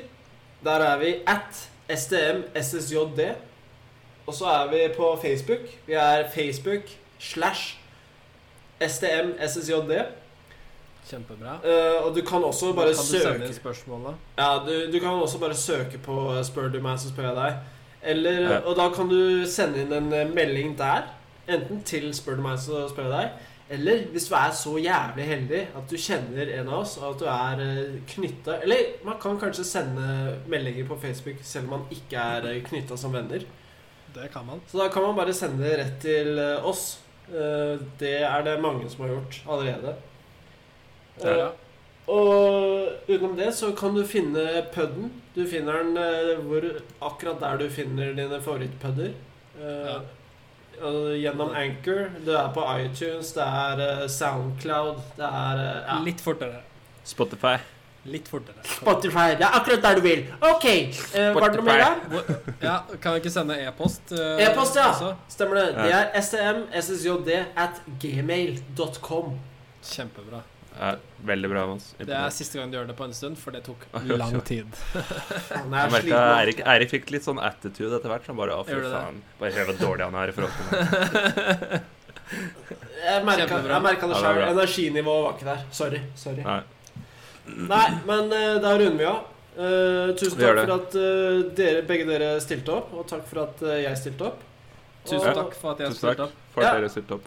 Speaker 2: Der er vi at stmssjd. Og så er vi på Facebook. Vi er Facebook slash stmssjd.
Speaker 4: Kjempebra.
Speaker 2: Eh, og du kan også bare
Speaker 4: Kan du sende
Speaker 2: søke
Speaker 4: inn spørsmål, da?
Speaker 2: Ja, du, du kan også bare søke på eh, 'Spør du meg, så spør jeg deg'. Eller,
Speaker 3: Ja.
Speaker 2: Og da kan du sende inn en eh, melding der. Enten til 'Spør du meg, så spør jeg deg'. Eller hvis du er så jævlig heldig at du kjenner en av oss, og at du er knytta Eller man kan kanskje sende meldinger på Facebook selv om man ikke er knytta som venner.
Speaker 4: Det kan man.
Speaker 2: Så da kan man bare sende det rett til eh, oss. Eh, Det er det mange som har gjort allerede.
Speaker 4: Ja, ja.
Speaker 2: Og utenom det så kan du finne pudden. Du finner den eh, hvor, akkurat der du finner dine favorittpudder. Eh,
Speaker 4: Ja.
Speaker 2: og Gjennom Anchor. Det er på iTunes, det er eh, Soundcloud, det er eh, ja.
Speaker 4: Litt fortere.
Speaker 3: Spotify.
Speaker 4: Litt fortere.
Speaker 2: Spotify. Det er akkurat der du vil. OK. eh, var det noe mer der?
Speaker 4: Hvor- Ja, kan vi ikke sende e-post? eh,
Speaker 2: E-post, ja.
Speaker 4: også?
Speaker 2: Stemmer det. Det
Speaker 3: Ja.
Speaker 2: er stmssjd at gmail.com.
Speaker 4: Kjempebra.
Speaker 3: Ja, veldig bra, Mons.
Speaker 4: Det er Ah, siste gang du gjør det på en stund, for det tok
Speaker 3: Oi, oi, oi.
Speaker 4: lang tid.
Speaker 2: Han
Speaker 3: Jeg
Speaker 2: er
Speaker 3: merket at
Speaker 2: sliten.
Speaker 3: Eirik, Eirik fikk litt sånn attitude etter hvert. Så han bare Å, fy
Speaker 4: Gjorde det.
Speaker 3: faen. Bare hør hvor dårlig han er i forhold til meg.
Speaker 2: Jeg merka
Speaker 4: Kjempebra.
Speaker 2: jeg merka det
Speaker 3: Ja, det er
Speaker 2: sjøl.
Speaker 3: bra.
Speaker 2: Energinivået var ikke der. Sorry. Sorry.
Speaker 3: Nei.
Speaker 2: Nei, men eh, da runder vi av. Eh, tusen
Speaker 3: Vi gjør
Speaker 2: takk for at eh, dere, begge dere stilte opp, og takk for at eh, jeg stilte opp.
Speaker 4: Tusen takk for at jeg
Speaker 3: Tusen
Speaker 4: stilte
Speaker 3: takk
Speaker 4: opp.
Speaker 3: for at
Speaker 2: Ja.
Speaker 3: dere stilte
Speaker 2: Og
Speaker 3: opp.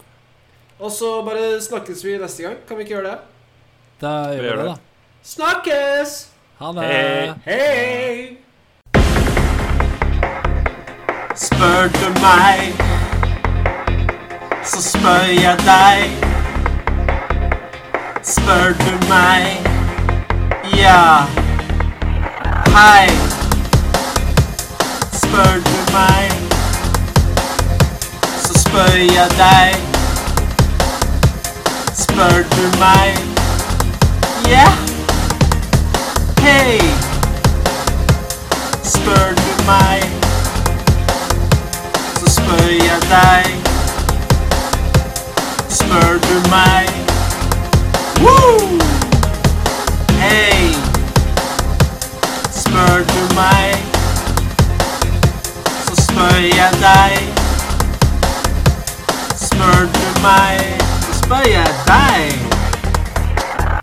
Speaker 2: Og så bare snakkes vi neste gang. Kan vi ikke gjøre det?
Speaker 4: Da gjør vi
Speaker 3: gjør
Speaker 4: det,
Speaker 3: det.
Speaker 4: da.
Speaker 2: Snakkes!
Speaker 4: Ha det.
Speaker 3: Hei.
Speaker 2: Hei! Spør du meg, så spør jeg deg. Spør du meg, ja. Hei. Spør du meg, så spør jeg deg. Spør du meg, ja. Hei! Spør du meg, så spør jeg deg. Spør du meg Woo! Hei! Spør du meg, så spør jeg deg. Spør du meg, så spør jeg deg.